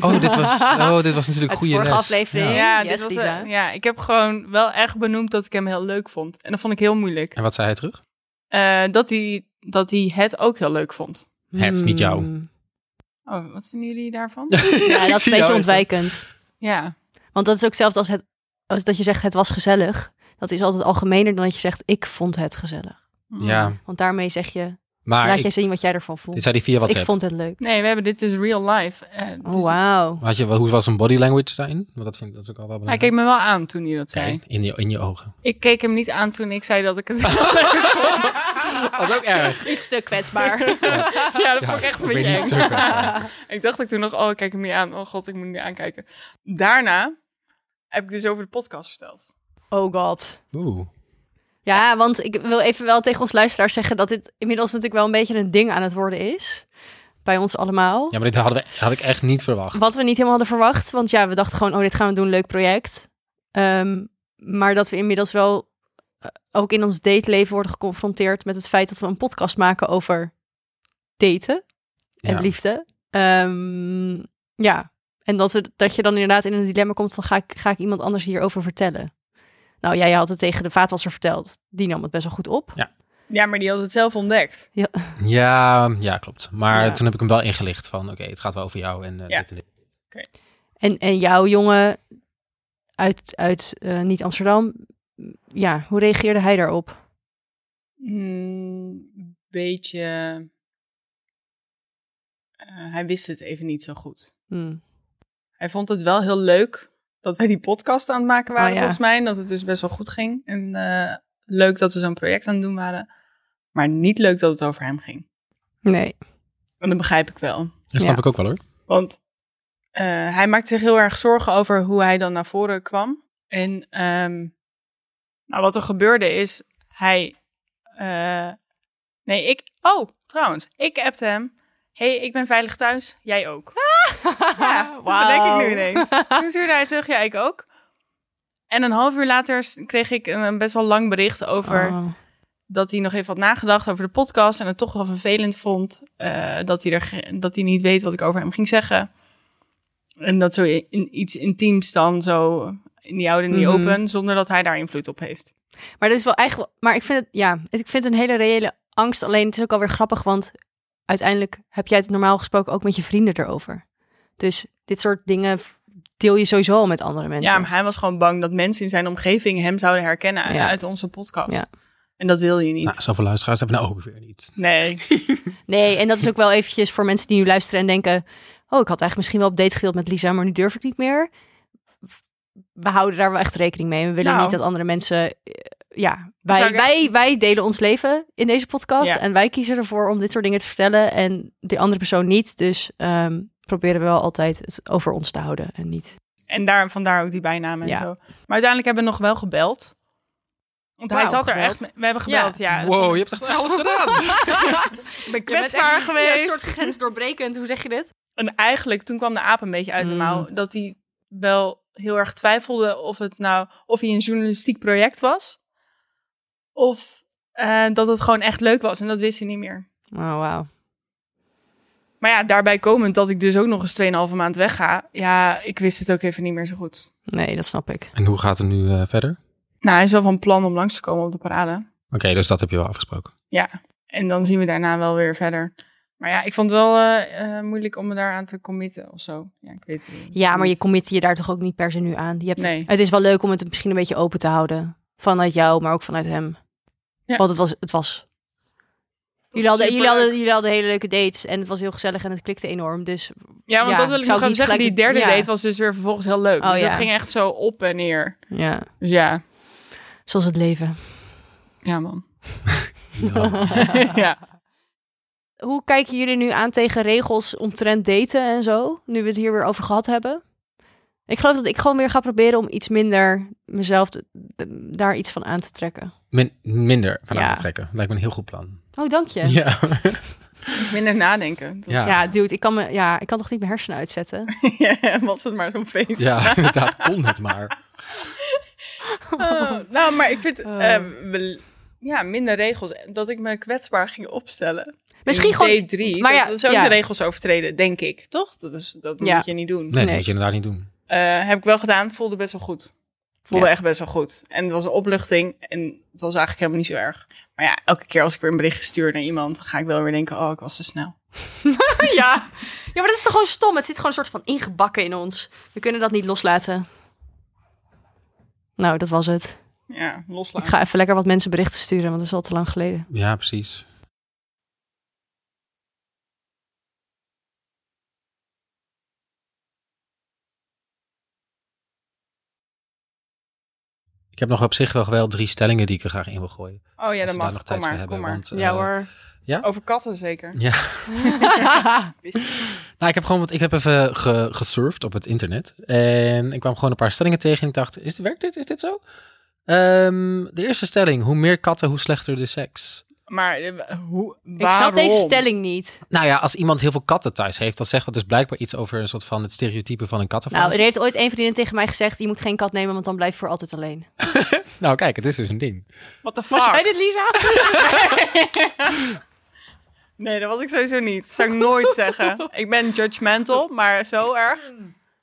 A: Oh, dit was, oh, dit was natuurlijk
D: Uit de
A: goede les.
D: vorige aflevering.
A: Ja.
B: Ja,
D: Oh, Yes,
B: dit was,
D: Lisa.
B: eh, ja, ik heb gewoon wel echt benoemd dat ik hem heel leuk vond. En dat vond ik heel moeilijk.
A: En wat zei hij terug?
B: Eh, dat, hij, dat hij het ook heel leuk vond.
A: Het is niet jou.
D: Hmm.
B: Oh, wat vinden jullie daarvan?
D: Ja,
A: Ik
D: dat is
A: zie
D: een beetje
A: jou
D: ontwijkend.
B: ja.
D: Want dat is ook hetzelfde als, het, als dat je zegt, het was gezellig. Dat is altijd algemener dan dat je zegt, ik vond het gezellig.
A: Ja,
D: Want daarmee zeg je,
A: maar
D: laat
A: ik,
D: jij zien wat jij ervan
A: dit
D: voelt.
A: zei hij via
D: Ik
A: WhatsApp.
D: vond het leuk.
B: Nee, we hebben dit is real life. Eh,
D: Oh,
B: dus-
D: wauw.
A: Had je, wel- hoe was een body language daarin? Want dat vind ik dat is ook al wel
B: Hij
A: belangrijk.
B: keek me wel aan toen hij dat zei.
A: Kijk, in, je, in je ogen.
B: Ik keek hem niet aan toen ik zei dat ik het...
A: Dat is ook erg.
D: Iets te kwetsbaar.
B: ja, Ah. dat vond ik echt een beetje eng.
A: beetje
B: Ik dacht ik toen nog, oh, ik kijk hem niet aan. Oh god, ik moet hem niet aankijken. Daarna heb ik dus over de podcast verteld.
D: Oh god.
A: Oeh.
D: Ja, want ik wil even wel tegen ons luisteraars zeggen dat dit inmiddels natuurlijk wel een beetje een ding aan het worden is. Bij ons allemaal.
A: Ja, maar dit hadden we, had ik echt niet verwacht.
D: Wat we niet helemaal hadden verwacht. Want ja, we dachten gewoon, oh, dit gaan we doen, leuk project. Ehm, maar dat we inmiddels wel eh, ook in ons dateleven worden geconfronteerd met het feit dat we een podcast maken over daten en
A: Ja.
D: liefde. Ehm, ja, en dat, we, dat je dan inderdaad in een dilemma komt van, ga ik, ga ik iemand anders hierover vertellen? Nou, jij had het tegen de vaatwasser verteld. Die nam het best wel goed op.
B: Ja, maar die had het zelf ontdekt.
A: Ja, ja, klopt. Maar
D: Ja.
A: toen heb ik hem wel ingelicht van, oké, het gaat wel over jou en eh,
B: Ja.
A: dit en dit.
D: En, en jouw jongen uit, uit eh, niet-Amsterdam, ja, hoe reageerde hij daarop?
B: Mm, beetje. eh, hij wist het even niet zo goed.
D: Hmm.
B: Hij vond het wel heel leuk dat wij die podcast aan het maken waren,
D: Oh, ja.
B: volgens mij. En dat het dus best wel goed ging. En eh, leuk dat we zo'n project aan het doen waren. Maar niet leuk dat het over hem ging.
D: Nee.
B: En dat begrijp ik wel.
A: Dat snap
D: Ja.
A: ik ook wel hoor.
B: Want eh, hij maakte zich heel erg zorgen over hoe hij dan naar voren kwam. En ehm, nou, wat er gebeurde is, hij. eh, nee, ik. Oh, trouwens, ik appte hem. hey, ik ben veilig thuis, jij ook.
D: Ja,
B: Ja, dat bedenk ik nu ineens. Ah, Toen stuurde hij terug, ja, ik ook. En een half uur later s- kreeg ik een, een best wel lang bericht over
D: Oh.
B: dat hij nog even had nagedacht over de podcast en het toch wel vervelend vond eh, dat, hij er, ge- dat hij niet weet wat ik over hem ging zeggen. En dat zo i- in, iets intiems dan zo in die oude en die
D: Mhm.
B: open, zonder dat hij daar invloed op heeft.
D: Maar dat is wel eigenlijk. Maar ik vind het, ja, het- ik vind het een hele reële angst. Alleen het is ook alweer grappig, want uiteindelijk heb jij het normaal gesproken ook met je vrienden erover. Dus dit soort dingen deel je sowieso al met andere mensen.
B: Ja, maar hij was gewoon bang dat mensen in zijn omgeving hem zouden herkennen
D: Ja.
B: uit onze podcast.
D: Ja.
B: En dat wilde je niet.
E: Nou, zoveel luisteraars hebben we nou ook weer niet.
B: Nee,
D: Nee, en dat is ook wel eventjes voor mensen die nu luisteren en denken: Oh, ik had eigenlijk misschien wel op date gewild met Lisa, maar nu durf ik niet meer. We houden daar wel echt rekening mee. We willen
B: Nou.
D: niet dat andere mensen. eh, Ja,
B: zou
D: wij,
B: ik echt-
D: wij, wij delen ons leven in deze podcast.
B: Ja.
D: En wij kiezen ervoor om dit soort dingen te vertellen. En die andere persoon niet. Dus ehm, proberen we wel altijd het over ons te houden. En niet.
B: En daar, vandaar ook die bijnaam en
D: Ja.
B: zo. Maar uiteindelijk hebben we nog wel gebeld. Want hij
D: Wauw,
B: zat er
D: gebeld.
B: echt... mee- We hebben gebeld, ja.
A: Wow, je hebt echt alles gedaan.
B: Ik ben kwetsbaar geweest.
D: grens doorbrekend, hoe zeg je dit?
B: En eigenlijk, toen kwam de aap een beetje uit de
D: Mm.
B: mouw. Dat hij wel heel erg twijfelde of het nou... Of hij een journalistiek project was. Of eh, dat het gewoon echt leuk was. En dat wist hij niet meer.
D: Oh, wauw.
B: Maar ja, daarbij komend dat ik dus ook nog eens 2,5 maand wegga. Ja, ik wist het ook even niet meer zo goed.
D: Nee, dat snap ik.
A: En hoe gaat het nu eh, verder? Oké,
B: Nou, hij is wel van plan om langs te komen op de parade.
A: dus dat heb je wel afgesproken.
B: En dan zien we daarna wel weer verder. Maar ja, ik vond het wel eh, eh, moeilijk om me daaraan te committen of zo. Ja, ik weet het
D: Ja, maar je
B: niet.
D: commit je daar toch ook niet per se nu aan. Je hebt
B: Nee.
D: het, het is wel leuk om het misschien een beetje open te houden. Vanuit jou, maar ook vanuit hem.
B: Ja.
D: Want het was. Het was. Jullie, hadden, jullie, hadden, jullie hadden hele leuke dates en het was heel gezellig en het klikte enorm. Dus
B: Ja, want
D: Ja,
B: dat wil
D: ik
B: ik
D: zou het
B: nog even
D: niet
B: zeggen. Die
D: gelijk-
B: derde
D: ja.
B: date was dus weer vervolgens heel leuk.
D: Oh,
B: dus
D: ja.
B: dat ging echt zo op en neer.
D: ja,
B: Dus ja,
D: zoals het leven.
B: ja man.
E: Ja.
B: ja.
D: Hoe kijken jullie nu aan tegen regels omtrent daten en zo? Nu we het hier weer over gehad hebben. Ik geloof dat ik gewoon weer ga proberen om iets minder mezelf te- te- daar iets van aan te trekken.
A: Min- minder van
D: Ja.
A: aan te trekken. Lijkt me een heel goed plan.
D: Oh, dank je.
A: Ja.
B: Iets minder nadenken. Dat-
A: Ja.
D: Ja, dude, ik kan, me, ja, ik kan toch niet mijn hersenen uitzetten?
B: Ja, was het maar zo'n feest.
A: ja, inderdaad, kon het maar.
B: Oh, nou, maar ik vind...
D: Oh.
B: eh, wel- ja, minder regels. Dat ik me kwetsbaar ging opstellen.
D: Misschien
B: In
D: gewoon.
B: D3.
D: maar
B: Maar
D: ja,
B: ja, dat is ook
D: ja.
B: de regels overtreden, denk ik. Toch? Dat, is, dat
D: Ja.
B: moet je niet doen.
A: Nee,
D: Nee.
A: dat moet je inderdaad niet doen.
B: Eh, heb ik wel gedaan. Voelde best wel goed. Voelde
D: Ja.
B: echt best wel goed. En het was een opluchting. En het was eigenlijk helemaal niet zo erg. Maar ja, elke keer als ik weer een berichtje stuur naar iemand, dan ga ik wel weer denken, oh, ik was te snel.
D: Ja. ja, maar dat is toch gewoon stom? Het zit gewoon een soort van ingebakken in ons. We kunnen dat niet loslaten. Nou, dat was het.
B: Ja,
D: Ik
B: loslaten.
D: ga even lekker wat mensen berichten sturen, want dat is al te lang geleden.
A: Ja, precies. Ik heb nog op zich wel, wel drie stellingen die ik er graag in wil gooien.
B: Oh
A: als
B: ja, dat
A: we
B: mag.
A: daar nog
B: kom
A: tijd
B: maar,
A: voor hebben.
B: kom maar.
A: Want, eh,
D: ja hoor.
B: Over katten zeker.
A: Ja. Nou, ik heb gewoon, wat- ik heb even ge, gesurfd op het internet. En ik kwam gewoon een paar stellingen tegen. En ik dacht, is, werkt dit? Is dit zo? Ehm, de eerste stelling, hoe meer katten, hoe slechter de seks.
B: maar eh, hoe, waarom?
D: Ik snap deze stelling niet.
A: Nou ja, als iemand heel veel katten thuis heeft, dan zegt dat dus blijkbaar iets over een soort van het stereotype van een kattenvrouw.
D: Nou, er heeft ooit een vriendin tegen mij gezegd: je moet geen kat nemen, want dan blijf je voor altijd alleen.
A: Nou, kijk, het is dus een ding.
B: What the fuck?
D: Was jij dit, Lisa?
B: Nee, dat was ik sowieso niet. Dat zou ik nooit zeggen. Ik ben judgmental, maar zo erg?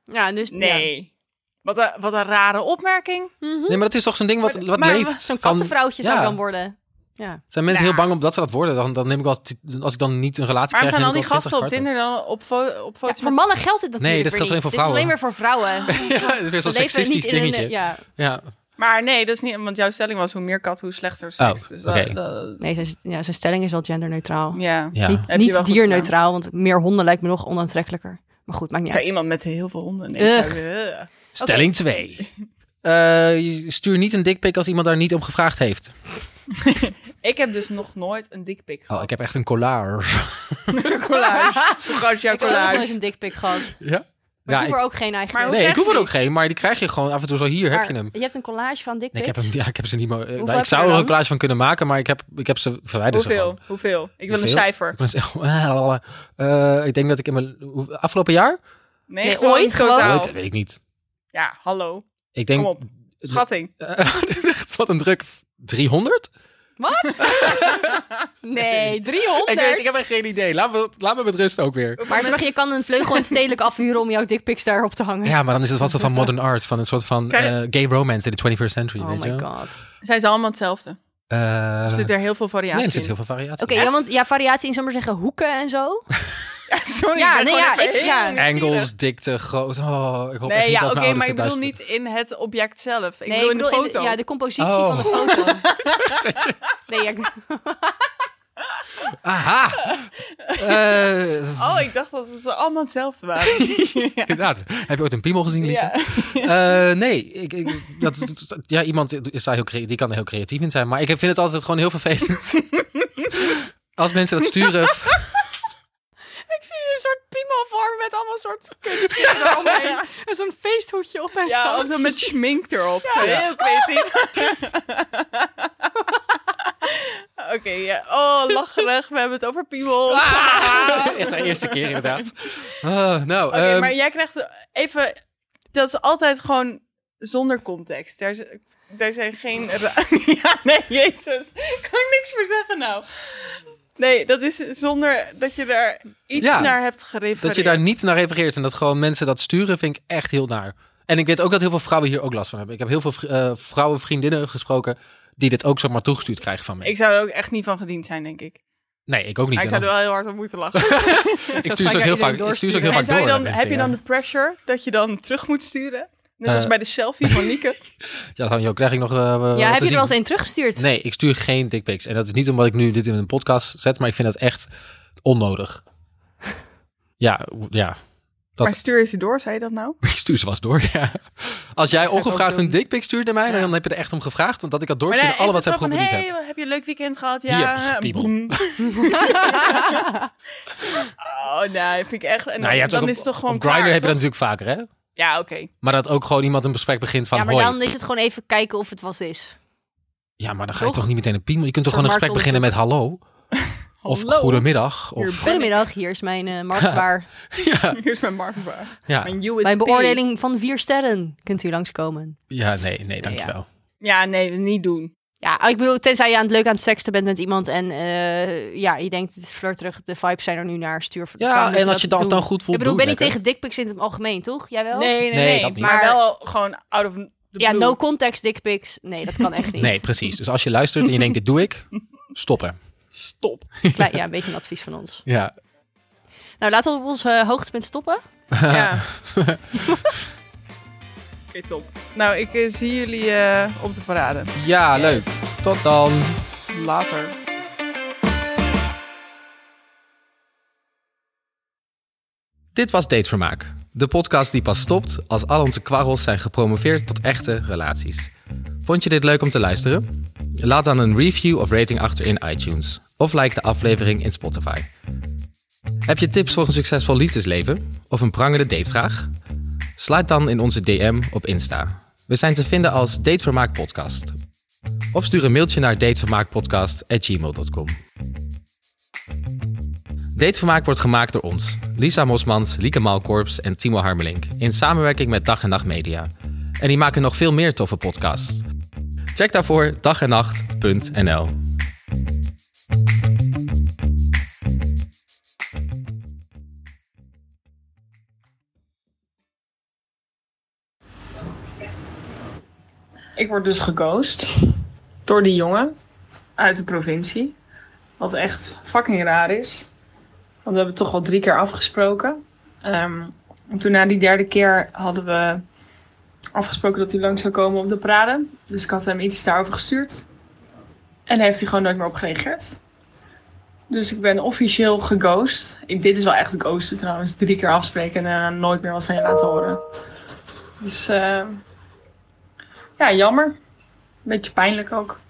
D: Ja, dus ja.
B: Nee. Wat, een, wat een rare opmerking.
A: Nee, maar dat is toch zo'n ding wat, wat
D: maar
A: leeft.
D: zo'n
A: van-
D: kattenvrouwtje
A: ja.
D: zou ik dan worden. Ja.
A: Zijn mensen
B: Nou.
A: heel bang omdat ze dat worden? Dan, dan neem ik wel, t- als ik dan niet een relatie
B: Maar
A: krijg...
B: zijn al
A: neem
B: die
A: ik wel 20
B: gasten op
A: karten.
B: Tinder dan op, fo- op
D: Ja,
B: foto's
D: voor mannen geldt dit natuurlijk
A: Nee, dat
D: weer
A: geldt alleen
D: niet.
A: voor
D: Dit is alleen
A: vrouwen.
D: maar voor vrouwen.
A: Ja, dat is weer zo'n
D: We leven niet
A: seksistisch
D: in een-
A: dingetje. ja.
D: ja.
B: Maar nee, dat is niet. Want jouw stelling was hoe meer kat, hoe slechter seks.
A: Oh,
B: dus dat-
A: oké.
B: dat-
D: Nee, zijn, ja, zijn stelling is wel genderneutraal.
B: ja.
A: Ja.
D: Niet,
B: Heb je wel
D: niet
B: goed
D: dierneutraal, want meer honden lijkt me nog onaantrekkelijker. Maar goed, maakt niet
B: Zou
D: uit.
B: iemand met heel veel honden? Nee,
D: Ugh.
B: zou- ugh.
A: Stelling 2. Eh, stuur niet een dikpik als iemand daar niet om gevraagd heeft.
B: Ik heb dus nog nooit een dikpik gehad.
A: Oh, ik heb echt een collage.
B: een collage. Hoe groot is jouw
D: Ik heb ook nog nooit
B: collage?
D: een dikpik gehad.
A: Ja?
D: Maar
A: Ja,
D: ik hoef
A: ik-
D: er ook geen eigenlijk.
B: Maar hoe
A: Nee, ik
B: krijg
A: hoef
B: je
A: er ook
B: die?
A: geen, maar die krijg je gewoon af en toe zo. Hier heb
D: Maar
A: je hem.
D: Je hebt een collage van dickpics.
A: Nee, ik heb hem. Ja, ik heb ze niet meer.
D: Hoeveel
A: nou, ik
D: heb je er
A: zou er een
D: dan?
A: collage van kunnen maken, maar ik heb, ik heb ze verwijderd. ze
B: Hoeveel?
A: gewoon.
B: Hoeveel? Ik wil een
A: Hoeveel?
B: cijfer.
A: Ik ben echt- Eh, ik denk dat ik in mijn hoe- afgelopen jaar.
B: Nee,
D: Nee,
B: gewoon
D: ooit
B: totaal.
D: gewoon?
A: Ooit, weet ik niet.
B: Ja, hallo.
A: Ik
B: Oh. Kom
A: denk.
B: op. Schatting.
A: Eh, dit is echt wat een druk. 300?
D: Wat? nee, 300.
A: Ik weet, ik heb echt geen idee. Laat me, laat me met rust ook weer.
D: Maar zeg maar, je kan een vleugel in het stedelijk afhuren om jouw dickpics daarop te hangen.
A: Ja, maar dan is het wat soort van modern art, van een soort van
B: Kijk-
A: eh, gay romance in de 21st century.
D: oh
A: weet je
D: my
A: wel?
D: god.
B: Zijn ze allemaal hetzelfde?
A: Eh,
B: Er zit er heel veel
A: nee,
B: variatie
A: er zit heel
B: in.
A: veel variatie.
D: Oké,
A: in.
D: ja, want ja, variatie in, zal ik maar zeggen, hoeken en zo.
B: Ja, sorry,
D: Ja,
B: ik ben
D: nee,
B: gewoon
D: ja,
B: even
D: ik-
B: heel
D: ja.
B: nieuwsgierig.
A: Engels, dikte, groot. Oh, ik hoop echt
B: Nee,
A: niet
B: ja,
A: dat
B: oké,
A: mijn ouders
B: maar ik
A: dit
B: bedoel
A: luisteren.
B: niet in het object zelf.
D: nee,
B: Ik bedoel in de
D: in
B: foto.
D: ja, de compositie
A: Oh.
D: van de foto. nee, ja, ik-
A: Aha! Eh,
B: Oh, ik dacht dat het allemaal hetzelfde waren.
A: Inderdaad. Heb je ooit een piemel gezien, Lisa?
B: Ja.
A: Eh, nee, ik, ik, dat, dat- dat- ja, iemand is daar heel crea- die kan er heel creatief in zijn. Maar ik vind het altijd gewoon heel vervelend. Als mensen dat sturen.
D: Ik zie hier een soort piemel vormen met allemaal soort kunstdingen eromheen. En zo'n feesthoedje op en
B: Ja,
D: zo.
B: of dan met schmink erop. zo.
A: ja.
B: Heel creatief. Oké, ja. Oh, lacherig. We hebben het over piemels. Ah!
A: Echt de eerste keer, inderdaad. Ah, nou,
B: Oké,
A: ehm,
B: maar jij krijgt even... Dat is altijd gewoon zonder context. Daar, z- daar zijn geen... ra- ja, nee, jezus. Kan ik niks meer zeggen nou. Nee, dat is zonder dat je daar iets
A: Ja,
B: naar hebt gerefereerd.
A: dat je daar niet naar refereert en dat gewoon mensen dat sturen, vind ik echt heel naar. En ik weet ook dat heel veel vrouwen hier ook last van hebben. Ik heb heel veel vri- eh, vrouwen, vriendinnen gesproken die dit ook zomaar toegestuurd krijgen van mij.
B: Ik zou er ook echt niet van gediend zijn, denk ik.
A: nee, ik ook niet.
B: Maar ik
A: En
B: zou er
A: dan-
B: wel heel hard op moeten lachen.
A: ik stuur ze ook
D: vaak
A: heel
D: naar
A: vaak.
D: iedereen
A: Ik stuur ze ook heel
B: en
A: vaak
B: zou
A: door.
B: je
A: naar
B: dan,
A: mensen,
B: heb je
A: ja.
B: dan de pressure dat je dan terug moet sturen? Net
A: Eh.
B: als bij de selfie van Nieke.
A: Ja, dan krijg ik nog. eh, wat
D: Ja, heb
A: te
D: je er
A: zien.
D: wel eens een teruggestuurd?
A: Nee, ik stuur geen dickpics. En dat is niet omdat ik nu dit in een podcast zet, maar ik vind dat echt onnodig. Ja, w- ja. Dat-
B: Maar stuur je ze door, zei je dat nou?
A: ik stuur ze was door. Ja. Als jij
B: Dat zou ik
A: ongevraagd
B: ook doen.
A: een dickpic stuurt naar mij,
B: Ja.
A: dan heb je er echt om gevraagd. Want dat ik dat
B: Maar
A: doorstuur,
B: dan
A: naar alle
B: is het zo
A: WhatsApp
B: van,
A: groepen die ik
B: hey,
A: heb.
B: heb je een leuk weekend gehad?
A: Hier,
B: Ja.
A: piemel.
B: boem. oh, nee, vind ik echt... En dan,
A: Nou, je hebt
B: dan
A: ook
B: is het toch gewoon
A: op Grindr
B: klaar,
A: heb je dat
B: toch?
A: natuurlijk vaker, hè?
B: Ja, oké.
A: Maar dat ook gewoon iemand een gesprek begint van
D: Ja, maar
A: hoi.
D: dan is het gewoon even kijken of het was is.
A: ja, maar dan ga je
D: Toch?
A: toch niet meteen een piemel. Je kunt toch
D: Voor
A: gewoon een gesprek beginnen met hallo. Of
B: Hallo.
A: goedemiddag.
B: Hier
A: Of,
D: Goedemiddag, hier is mijn eh, marktwaar.
A: ja,
B: Hier is mijn marktwaar.
A: ja,
B: Mijn USP.
D: Mijn beoordeling van vier sterren. Kunt u langskomen.
A: ja, nee, nee, dankjewel.
B: Ja, nee, niet doen.
D: Ja, ik bedoel, tenzij je aan het leuk aan het seksten bent met iemand en eh, ja, je denkt, het is terug, de vibes zijn er nu naar, stuur voor de
A: Ja,
D: kamer,
A: en als je
D: dat
A: dan
D: doen.
A: dan goed voelt,
D: Ik bedoel,
A: doe
D: ben ik
A: het lekker.
D: tegen dickpics in het algemeen, toch? Jij wel?
B: Nee, nee,
A: Nee,
B: nee.
A: dat niet.
B: Maar
D: Maar-
B: wel gewoon out of the
D: Ja,
B: blue.
D: no context dickpics. Nee, dat kan echt niet.
A: Nee, precies. Dus als je luistert en je denkt, dit doe ik, stoppen.
B: Stop.
D: Klein- ja, een beetje een advies van ons.
A: Ja.
D: Nou, laten we op ons eh, hoogtepunt stoppen.
B: Ja. Oké, top. Nou, ik eh, zie jullie eh, op de parade.
A: Ja, leuk. Tot dan.
B: Later.
A: Dit was Datevermaak. De podcast die pas stopt als al onze kwarrels zijn gepromoveerd tot echte relaties. Vond je dit leuk om te luisteren? Laat dan een review of rating achter in iTunes. Of like de aflevering in Spotify. Heb je tips voor een succesvol liefdesleven? Of een prangende datevraag? Sluit dan in onze DM op Insta. We zijn te vinden als Datevermaak Podcast. Of stuur een mailtje naar datevermaakpodcast.gmail.com. Datevermaak wordt gemaakt door ons. Lisa Mosmans, Lieke Malkorps en Timo Harmelink. In samenwerking met Dag en Nacht Media. En die maken nog veel meer toffe podcasts. Check daarvoor dagennacht.nl
C: Ik word dus geghost door die jongen uit de provincie. Wat echt fucking raar is. Want we hebben toch wel drie keer afgesproken. Ehm, en toen na die derde keer hadden we afgesproken dat hij lang zou komen op de parade. Dus ik had hem iets daarover gestuurd. En daar heeft hij gewoon nooit meer op gereageerd. Dus ik ben officieel geghost. Ik, dit is wel echt ghosten trouwens. Drie keer afspreken en daarna nooit meer wat van je laten horen. Dus... ehm, ja, jammer. Beetje pijnlijk ook.